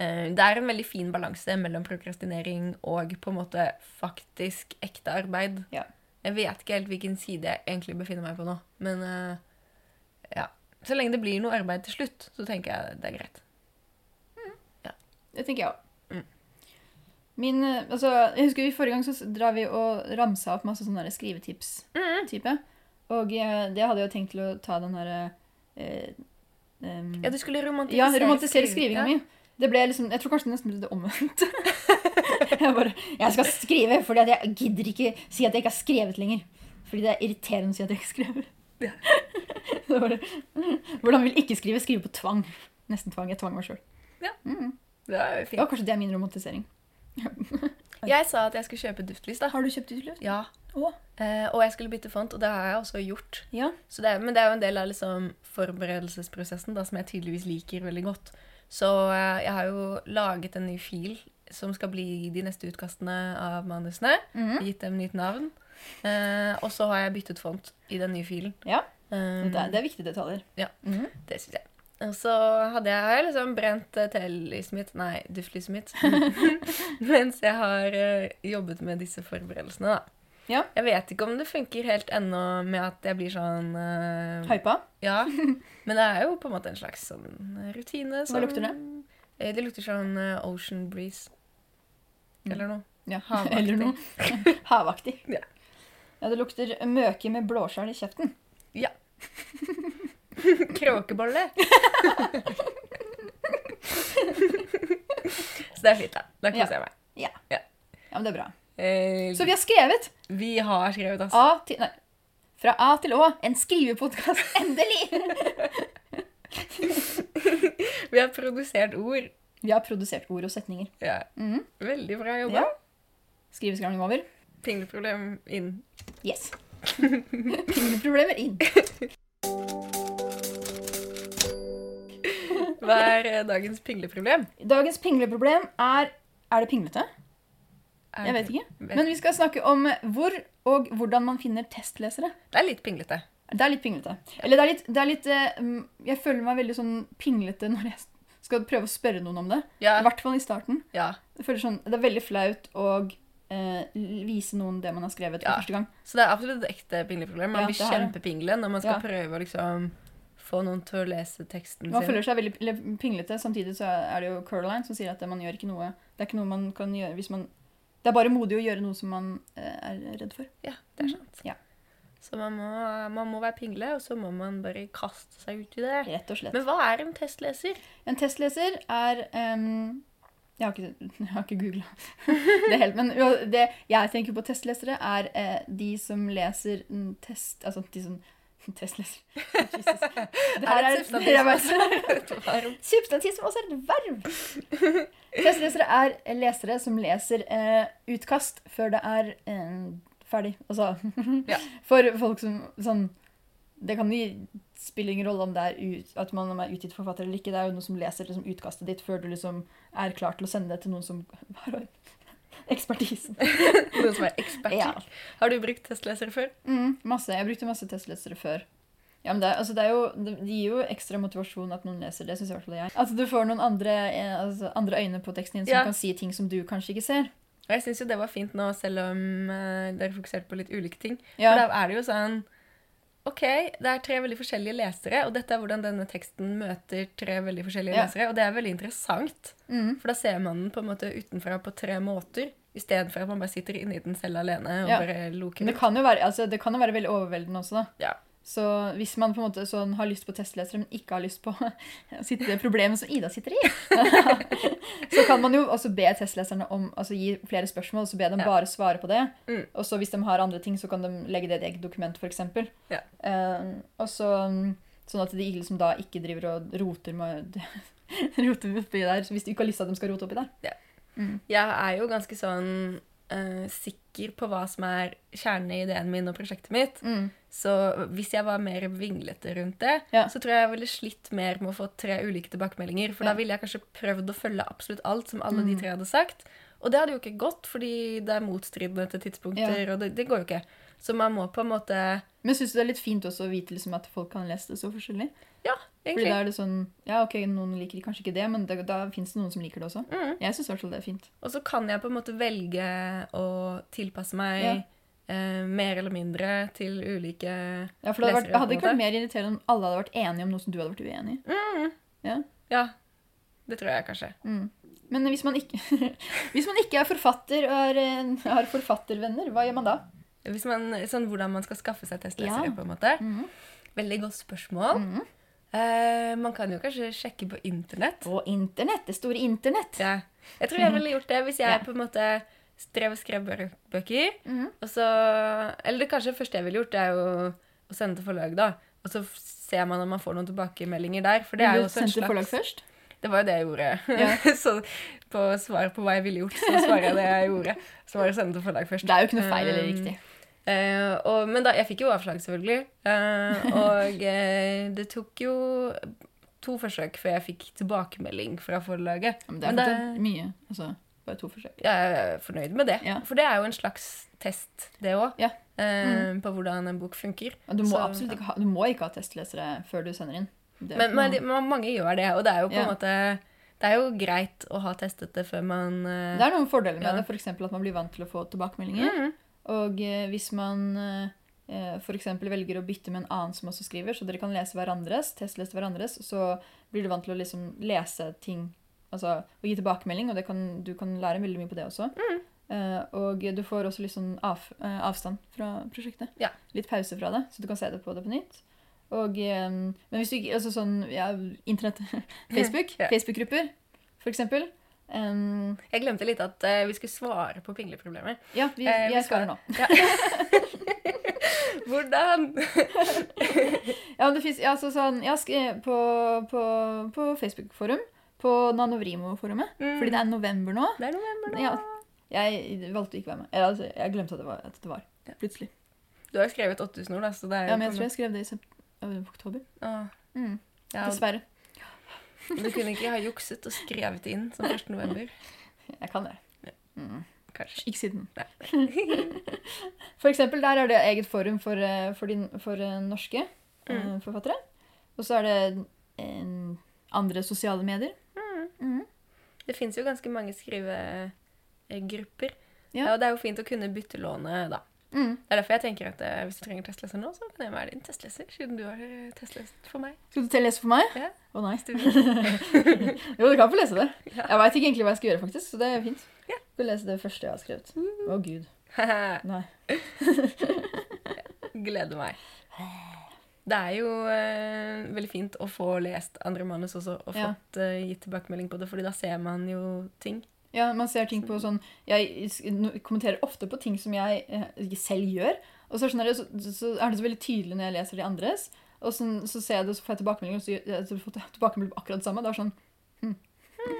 Eh, det er en veldig fin balanse mellom prokrastinering og på en måte faktisk ekte arbeid.
Ja.
Jeg vet ikke helt hvilken side jeg egentlig befinner meg på nå, men eh, ja. Så lenge det blir noe arbeid til slutt, så tenker jeg det er greit.
Det tenker jeg òg.
Mm.
Min, eh, altså, jeg husker vi Forrige gang så s- drev vi og ramsa opp masse sånne der skrivetips-type. Og eh, det hadde jeg jo tenkt til å ta den herre eh, em,
Ja, du skulle romantisere,
ja, romantisere
skriving-
skrivinga
ja.
mi. Det ble liksom, Jeg tror kanskje det nesten ble det omvendte. jeg bare Jeg skal skrive fordi at jeg gidder ikke si at jeg ikke har skrevet lenger. Fordi det er irriterende å si at jeg ikke skriver.
Ja.
det var det. Hvordan vil ikke skrive? Skrive på tvang. Nesten tvang. Jeg tvang meg sjøl.
Ja.
Mm.
Det er jo
Ja,
fint.
kanskje det er min romantisering.
Jeg sa at jeg skulle kjøpe duftlys, da.
Har du kjøpt utløp?
Ja.
Å.
Eh, og jeg skulle bytte font, og det har jeg også gjort.
Ja.
Så det, er- men det er jo en del av liksom forberedelsesprosessen da, som jeg tydeligvis liker veldig godt. Så eh, jeg har jo laget en ny fil som skal bli de neste utkastene av manusene.
Mhm.
Gitt dem nytt navn. Eh, og så har jeg byttet font i den nye filen.
Ja.
Eh,
Det, er, det er viktige detaljer.
Ja.
Mhm.
det syns jeg. Og så hadde jeg, har jeg liksom brent eh, telyset mitt Nei, duftlyset mitt. Mens jeg har eh, jobbet med disse forberedelsene, da.
Ja.
Jeg vet ikke om det funker helt ennå med at jeg blir sånn eh,
Hypa.
Ja. Men det er jo på en måte en slags sånn rutine. som-
lukter det?
Eh, Det lukter sånn eh, ocean breeze.
Mm.
Eller noe.
Ja.
Havaktig.
Eller noe. Havaktig.
Ja.
ja, det lukter møke med blåskjell i kjeften.
Kråkebolle. Så det er fint, da. Da koser
Ja.
jeg meg.
Ja, men det er bra.
Eh,
Så vi har skrevet
vi har skrevet altså. oss.
A til Nei. Fra A til Å. En skrivepodkast. Endelig! Ah.
Vi har produsert ord.
Vi har produsert ord og setninger.
Ja.
Mhm.
Veldig bra jobba.
Ja. Skriveskrangling over.
Pingleproblem inn.
Yes. Pingleproblemer inn.
Hva er eh, dagens pingleproblem?
Dagens pingleproblem er Er det pinglete?
Er
Jeg vet ikke.
vet-
Men vi skal snakke om hvor og hvordan man finner testlesere.
Det er litt pinglete.
Det er litt pinglete. Eller det er litt, det er litt eh, mm, Jeg føler meg veldig sånn pinglete når jeg skal prøve å spørre noen om det. I
Ja.
hvert fall i starten.
ja.
Jeg føler sånn, Det er veldig flaut å eh, vise noen det man har skrevet for
Ja.
første gang.
Så det er absolutt et ekte pingleproblem. Man
Ja,
blir
det er det.
kjempepingle når man skal
Ja.
prøve å liksom få noen til å lese teksten
Man
sin.
føler seg veldig eller mm, pinglete. Samtidig så er det jo Caroline som sier at man gjør ikke noe Det er ikke noe man kan gjøre hvis man Det er bare modig å gjøre noe som man eh, er redd for.
Ja, det er sant.
Mm. Ja.
Så man må, man må være pingle, og så må man bare kaste seg ut i det.
Rett og slett.
Men hva er en testleser?
En testleser er ehm, Jeg har ikke, jeg har ikke googla det helt, men jo, det jeg tenker på testlesere, er eh, de som leser mm, test... Altså de som Testleser. Jesus. Det her er
et
jeg vet-
Varm.
Substantiv som også er et verv! Testlesere er lesere som leser eh, utkast før det er eh, ferdig. Altså
Ja.
For folk som sånn Det kan jo spille ingen rolle om det er ut, at man er utgitt forfatter eller ikke. Det er jo noen som leser liksom, utkastet ditt før du liksom er klar til å sende det til noen som har ekspertisen.
Noen som er eksperter.
Ja.
Har du brukt testlesere før?
Mm, masse. Jeg brukte masse testlesere før. Ja, men det, er- altså det, er jo, det det gir jo ekstra motivasjon at noen leser det, syns i hvert fall jeg. At du får noen andre, eh, altså, andre øyne på teksten din som
Ja.
kan si ting som du kanskje ikke ser.
Og jeg syns jo det var fint nå, selv om eh, dere fokuserte på litt ulike ting.
Ja.
For da er det jo sånn OK, det er tre veldig forskjellige lesere, og dette er hvordan denne teksten møter tre veldig forskjellige
Ja.
lesere. Og det er veldig interessant,
Mm.
for da ser man den på en måte utenfra på tre måter. Istedenfor at man bare sitter inni den selv alene og
Ja.
bare
Men
loker
det
ut.
kan jo være, altså, det kan jo være veldig overveldende også, da.
Ja.
Så hvis man på en måte sånn, har lyst på testlesere, men ikke har lyst på å sitte i det problemet som Ida sitter i, så kan man jo også be testleserne om altså, gi flere spørsmål, så be dem
Ja.
bare svare på det.
Mm.
Og så hvis de har andre ting, så kan de legge det i et eget dokument, f.eks.
Ja.
Eh, og så mm, Sånn at de liksom da ikke driver og roter med roter oppi der, hvis du ikke har lyst til at de skal rote oppi der.
Jeg er jo ganske sånn eh, sikker på hva som er kjernen i ideen min og prosjektet mitt. Så hvis jeg var mer vinglete rundt det,
Ja.
så tror jeg jeg ville slitt mer med å få tre ulike tilbakemeldinger. For
Ja.
da ville jeg kanskje prøvd å følge absolutt alt som alle de
Mm.
tre hadde sagt. Og det hadde jo ikke gått, fordi det er motstridende til tidspunkter, og det, det går jo ikke. Så man må på en måte
Men syns du det er litt fint også å vite liksom at folk kan lese det så forskjellig?
Ja,
Fordi
egentlig.
da er det sånn Ja, ok, noen liker kanskje ikke det, men da, da fins det noen som liker det også.
Mm.
Jeg syns i hvert fall det er fint.
Og så kan jeg på en måte velge å tilpasse meg
Ja.
eh, mer eller mindre til ulike
Ja, for det hadde,
Leser
vært,
det på
hadde
en
ikke
måte. Mm.
vært mer irriterende om alle hadde vært enige om noe som du hadde vært uenig i.
Ja, det tror jeg kanskje.
Mm. Men hvis man, ikke, hvis man ikke er forfatter og er, eh, har forfattervenner, hva gjør man da?
Hvis man, sånn Hvordan man skal skaffe seg testlesere,
Ja.
på en måte.
Mhm.
Veldig godt spørsmål.
Mhm.
Eh, man kan jo kanskje sjekke på internett.
Og internett, det store internett.
Ja. Jeg tror jeg ville gjort det hvis jeg
Mhm. Ja.
på en måte drev og skrev bø- bøker.
Mhm.
Og så, eller det kanskje første jeg ville gjort, det er jo å sende til forlag, da. Og så f- ser man om man får noen tilbakemeldinger der. For det er
Vil
jo
du
også en
sende til forlag
slags
først?
Det var jo det jeg gjorde.
Ja.
så på svar på hva jeg ville gjort, så svarer jeg det jeg gjorde. Så var det å sende til forlag først.
Det er jo ikke noe feil eller
Um,
riktig.
Eh, og, men da, jeg fikk jo avslag, selvfølgelig. Eh, og eh, det tok jo to forsøk før jeg fikk tilbakemelding fra forlaget.
Ja, Men det er
men
fortsatt
det-
mye. Altså, bare to forsøk.
Jeg er fornøyd med det,
Ja.
for det er jo en slags test, det òg.
Ja. Mm.
På hvordan en bok funker.
Ja, Du må
Så-
absolutt ikke ha, du må ikke ha testlesere før du sender inn. Det er
Men,
ikke
men
noe-
de, men mange gjør det, og det er jo på en
Ja.
måte Det er jo greit å ha testet det før man eh,
Det er noen fordeler med
Ja.
det, f.eks. at man blir vant til å få tilbakemeldinger.
Mhm.
Og eh, hvis man eh, f.eks. velger å bytte med en annen som også skriver, så dere kan lese hverandres, testlese hverandres, så blir du vant til å liksom lese ting Altså å gi tilbakemelding, og det kan, du kan lære veldig mye på det også.
Mm.
Eh, og du får også litt sånn av, eh, avstand fra prosjektet.
Ja.
Litt pause fra det, så du kan se det på det på nytt. Og, eh, men hvis du ikke altså sånn, ja, Internett, Facebook,
Ja.
Facebook-grupper, for eksempel. Em,
Jeg glemte litt at eh, vi skulle svare på pingleproblemer.
ja, vi,
Eh, vi
jeg svarer
svarer.
nå.
Hvordan?
Ja, men det finnes, ja, så, sånn, ja, sk eh, på, på, på Facebook-forum, på Nanovrimo-forumet,
Mm.
fordi det er november nå.
Det er november nå.
Ja, jeg valgte å ikke være med. Jeg, altså, jeg glemte at det var. At det var. Plutselig.
Du har jo skrevet 8000 ord, da, så det er jo
Ja, men jeg
på
tror
no-
jeg skrev det i sept øh, oktober.
Åh,
Mm,
ja,
dessverre.
Du kunne ikke ha jukset og skrevet det inn som 1. november.
Jeg kan det. Mm,
Kanskje.
ikke siden.
Nei.
For eksempel, der er det eget forum for, eh, for, de, for eh, norske eh, forfattere. Og så er det eh, andre sosiale medier. Mhm.
Det fins jo ganske mange skrivegrupper.
Ja.
Ja, og det er jo fint å kunne byttelåne da.
Mm.
Det er derfor jeg tenker at eh, hvis du trenger testleser nå, så kan jeg være din testleser, siden du har eh, testlest for meg.
Skal du til å lese for meg?
Ja.
Å nei.
Hvis du vil.
Jo, du kan få lese det.
Ja.
Jeg veit ikke egentlig hva jeg skal gjøre, faktisk, så det er fint.
Ja. Mm.
Du kan lese det første jeg har skrevet. Å gud. Nei.
Gleder meg. Det er jo eh, veldig fint å få lest andre manus også, og
Ja.
fått eh, gitt tilbakemelding på det, fordi da ser man jo ting.
Ja, man ser ting på sånn Jeg s- no- kommenterer ofte på ting som jeg eh, ikke selv gjør. Og så er, det sånn, der, så, så er det så veldig tydelig når jeg leser de andres. Og så, så ser jeg det, og så får jeg tilbakemelding, og så, gjør- eh, så får jeg tilbakemelding på akkurat det samme. Det er sånn hm.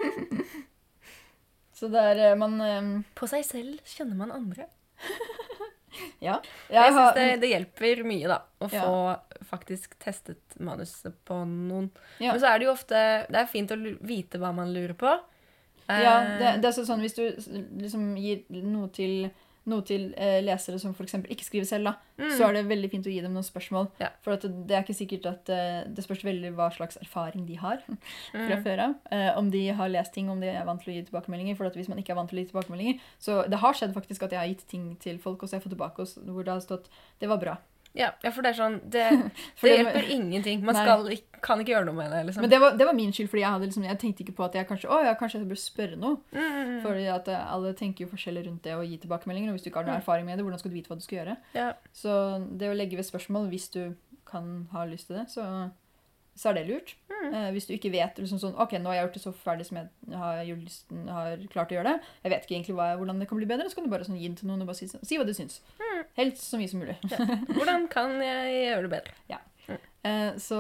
Så det er eh, Man eh,
På seg selv kjenner man andre.
Jeg
jeg syns
har
det, det hjelper mye, da, å
Ja.
få faktisk testet manuset på noen.
Ja.
Men så er det jo ofte Det er fint å lu- vite hva man lurer på. Eh,
Ja, det, det er så sånn hvis du s- liksom gir noe til noe til eh, lesere som f.eks. ikke skriver selv, da,
Mm.
så er det veldig fint å gi dem noen spørsmål.
Ja.
For at det, det er ikke sikkert at eh, Det spørs veldig hva slags erfaring de har fra
mm,
før av. Eh, om de har lest ting, om de er vant til å gi tilbakemeldinger. For at hvis man ikke er vant til å gi tilbakemeldinger Så det har skjedd faktisk at jeg har gitt ting til folk, og så har jeg fått tilbake hos, hvor det har stått 'det var bra'.
ja, ja, for det er sånn Det,
For
det
det-
hjelper ingenting. Man
Nei.
skal, ikk- kan ikke gjøre noe med det. liksom.
Men det var, det var min skyld, fordi jeg, hadde liksom, jeg tenkte ikke på at jeg kanskje å, ja, kanskje jeg burde spørre noe.
Mm, mm, mm.
Fordi at eh, alle tenker jo forskjellig rundt det å gi tilbakemeldinger. Og hvis du ikke har noe
Mm.
erfaring med det, hvordan skal du vite hva du skal gjøre?
Ja.
Så det å legge ved spørsmål hvis du kan ha lyst til det, så, så er det lurt.
Mm.
Eh, hvis du ikke vet liksom sånn OK, nå har jeg gjort det så ferdig som jeg har, gjort lysten, har klart å gjøre det. Jeg vet ikke egentlig hva, hvordan det kan bli bedre. Så kan du bare sånn, gi den til noen og bare si, sånn, si hva du syns.
Mm.
Helst så mye som mulig.
Hvordan kan jeg gjøre det bedre?
Eh, så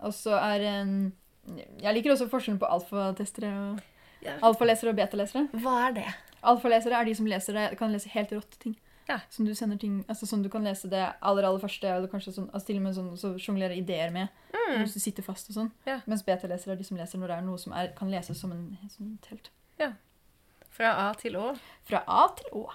Og så er eh, Jeg liker også forskjellen på alfatestere og
Ja.
alfalesere og betalesere.
Hva er det?
Alfalesere er de som leser det, kan lese helt rått ting.
Ja.
Som du sender ting, altså sånn du kan lese det aller aller første, eller kanskje sånn, altså til og med sånn, så sjonglere ideer med,
Mm.
hvis du sitter fast og sånn.
Ja.
Mens beta-lesere er de som leser når det er noe som er, kan leses som en som et telt.
Fra A til Å.
Fra A til Å.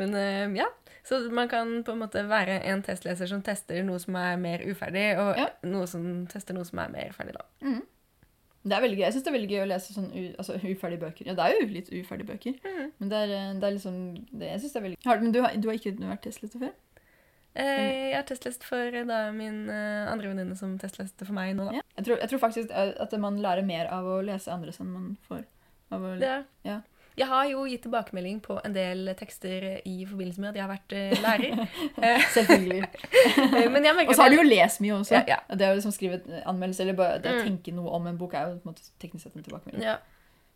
Men eh, ja, så man kan på en måte være en testleser som tester noe som er mer uferdig, og
Ja.
noe som tester noe som er mer ferdig, da.
Det er veldig gøy. Jeg synes det er veldig gøy å lese sånn u, altså, uferdige bøker. Ja, det er jo litt uferdige bøker.
Mhm.
Men det er, eh, det er liksom, det, jeg synes det er veldig gøy. Har, men du har, du har ikke vært testlete før? Mm.
Eh, jeg har testlest for eh, da min eh, andre venninne som testleste for meg nå, da.
Ja. Jeg tror, jeg tror faktisk eh, at man lærer mer av å lese andres enn man får. Av å,
Det,
Ja.
Jeg har jo gitt tilbakemelding på en del tekster eh, i forbindelse med at jeg har vært eh, lærer. Eh,
Selvfølgelig.
eh, Men jeg
Og
merker
så
at
har du
jeg,
jo lest mye også.
Ja, ja.
Og Det å liksom skrive et anmeldelse eller bare det å
Mm.
tenke noe om en bok er jo på en måte teknisk sett en tilbakemelding.
ja,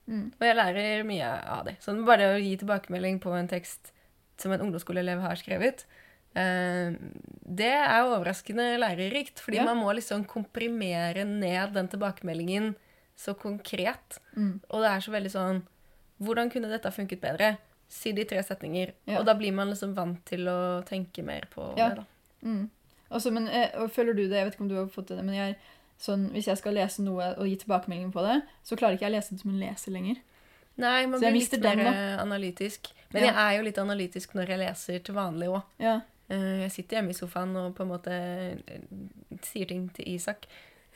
Mm.
og jeg lærer mye av det. Så bare å gi tilbakemelding på en tekst som en ungdomsskoleelev har skrevet, eh, det er jo overraskende lærerikt. Fordi
Ja.
man må liksom komprimere ned den tilbakemeldingen så konkret.
Mm.
Og det er så veldig sånn Hvordan kunne dette funket bedre? Si de tre setninger.
Ja.
Og da blir man liksom vant til å tenke mer på
Ja.
det. da.
Mm. Også, men eh, og føler du det? Jeg vet ikke om du har fått det, men jeg, sånn, hvis jeg skal lese noe og gi tilbakemelding på det, så klarer ikke jeg å lese det som en leser lenger.
Nei, man
Så jeg
blir litt
mister
mer
den,
eh, analytisk. Men
Ja.
jeg er jo litt analytisk når jeg leser til vanlig òg.
Ja.
Eh, Jeg sitter hjemme i sofaen og på en måte eh, sier ting til Isak.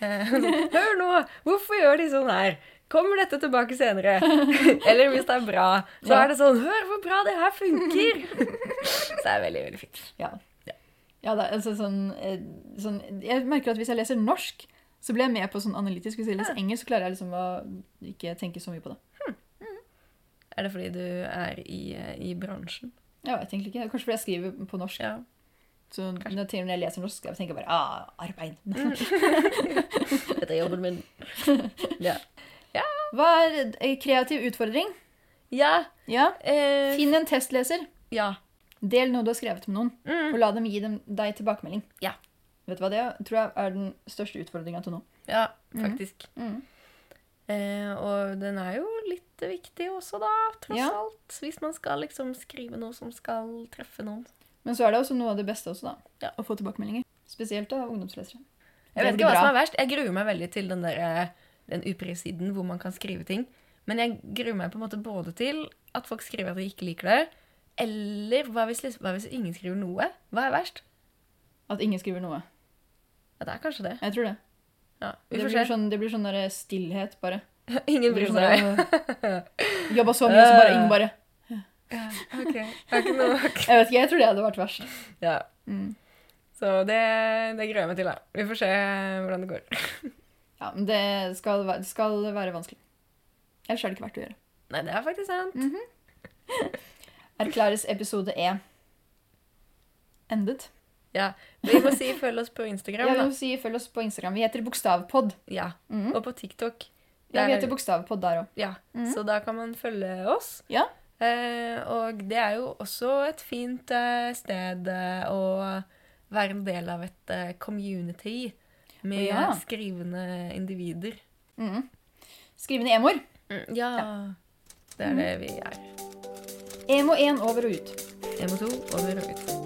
Eh, sånn, Hør nå! Hvorfor gjør de sånn her? Kommer dette tilbake senere? Eller hvis det er bra, så
Ja.
er det sånn Hør hvor bra det her funker! Så det er veldig, veldig fint.
Ja. Ja, da, altså sånn, eh, sånn Jeg merker at hvis jeg leser norsk, så blir jeg med på sånn analytisk. Hvis jeg leser engelsk, så klarer jeg liksom å ikke tenke så mye på det.
Er det fordi du er i, eh, i bransjen?
Jeg vet egentlig ikke. Kanskje fordi jeg skriver på norsk.
Ja.
Så når til og med når jeg leser norsk, så tenker jeg bare ah, arbeid.
Dette er jobben min. Ja. ja
Hva er eh, kreativ utfordring?
Ja.
Ja.
Eh,
Finn en testleser.
ja.
Del noe du har skrevet med noen,
Mm.
og la dem gi dem, deg tilbakemelding.
Ja.
Vet du hva, det tror jeg er den største utfordringa til nå.
ja,
Mhm.
faktisk.
Mhm.
Eh, og den er jo litt viktig også, da, tross
Ja.
alt. Hvis man skal liksom skrive noe som skal treffe noen.
Men så er det også noe av det beste også, da.
Ja.
Å få tilbakemeldinger. Spesielt av ungdomslesere.
Jeg vet
Det blir
ikke hva
bra.
som er verst. Jeg gruer meg veldig til den, der, eh, den UPRI-siden hvor man kan skrive ting. Men jeg gruer meg på en måte både til at folk skriver at de ikke liker det, eller hva hvis, liksom, hva hvis ingen skriver noe? Hva er verst?
At ingen skriver noe.
Ja, det er kanskje det.
Jeg tror det.
Ja, vi
Det
får
blir
se.
sånn, det blir sånn der stillhet, bare. sånn
Ingen bryr seg. sånn
Jobba så mye, og så bare ingen bare
Ja, ok. Det er ikke noe.
Jeg vet ikke, jeg tror det hadde vært verst.
Ja,
Mm.
så det, det gruer jeg meg til, da. Vi får se eh, hvordan det går.
Ja, men det skal, væ- det skal være vanskelig. Ellers er det ikke verdt å gjøre.
Nei, det er faktisk sant.
Erklæres episode E endet.
Ja, Vi må si følg oss på Instagram,
Jeg vil
da.
jo si følg oss på Instagram. Vi heter Bokstavpod.
Ja,
Mhm.
Og på TikTok.
Ja, vi
Der-
heter Bokstavpod der òg.
Ja,
Mhm.
så da kan man følge oss.
Ja.
Eh, og det er jo også et fint eh, sted eh, å være en del av et eh, community med
Ja.
skrivende individer.
Mm. Skriv ned emoer.
Mm. ja. Mm. Det er det vi er.
Emo 1 over og ut.
Emo 2 over og ut.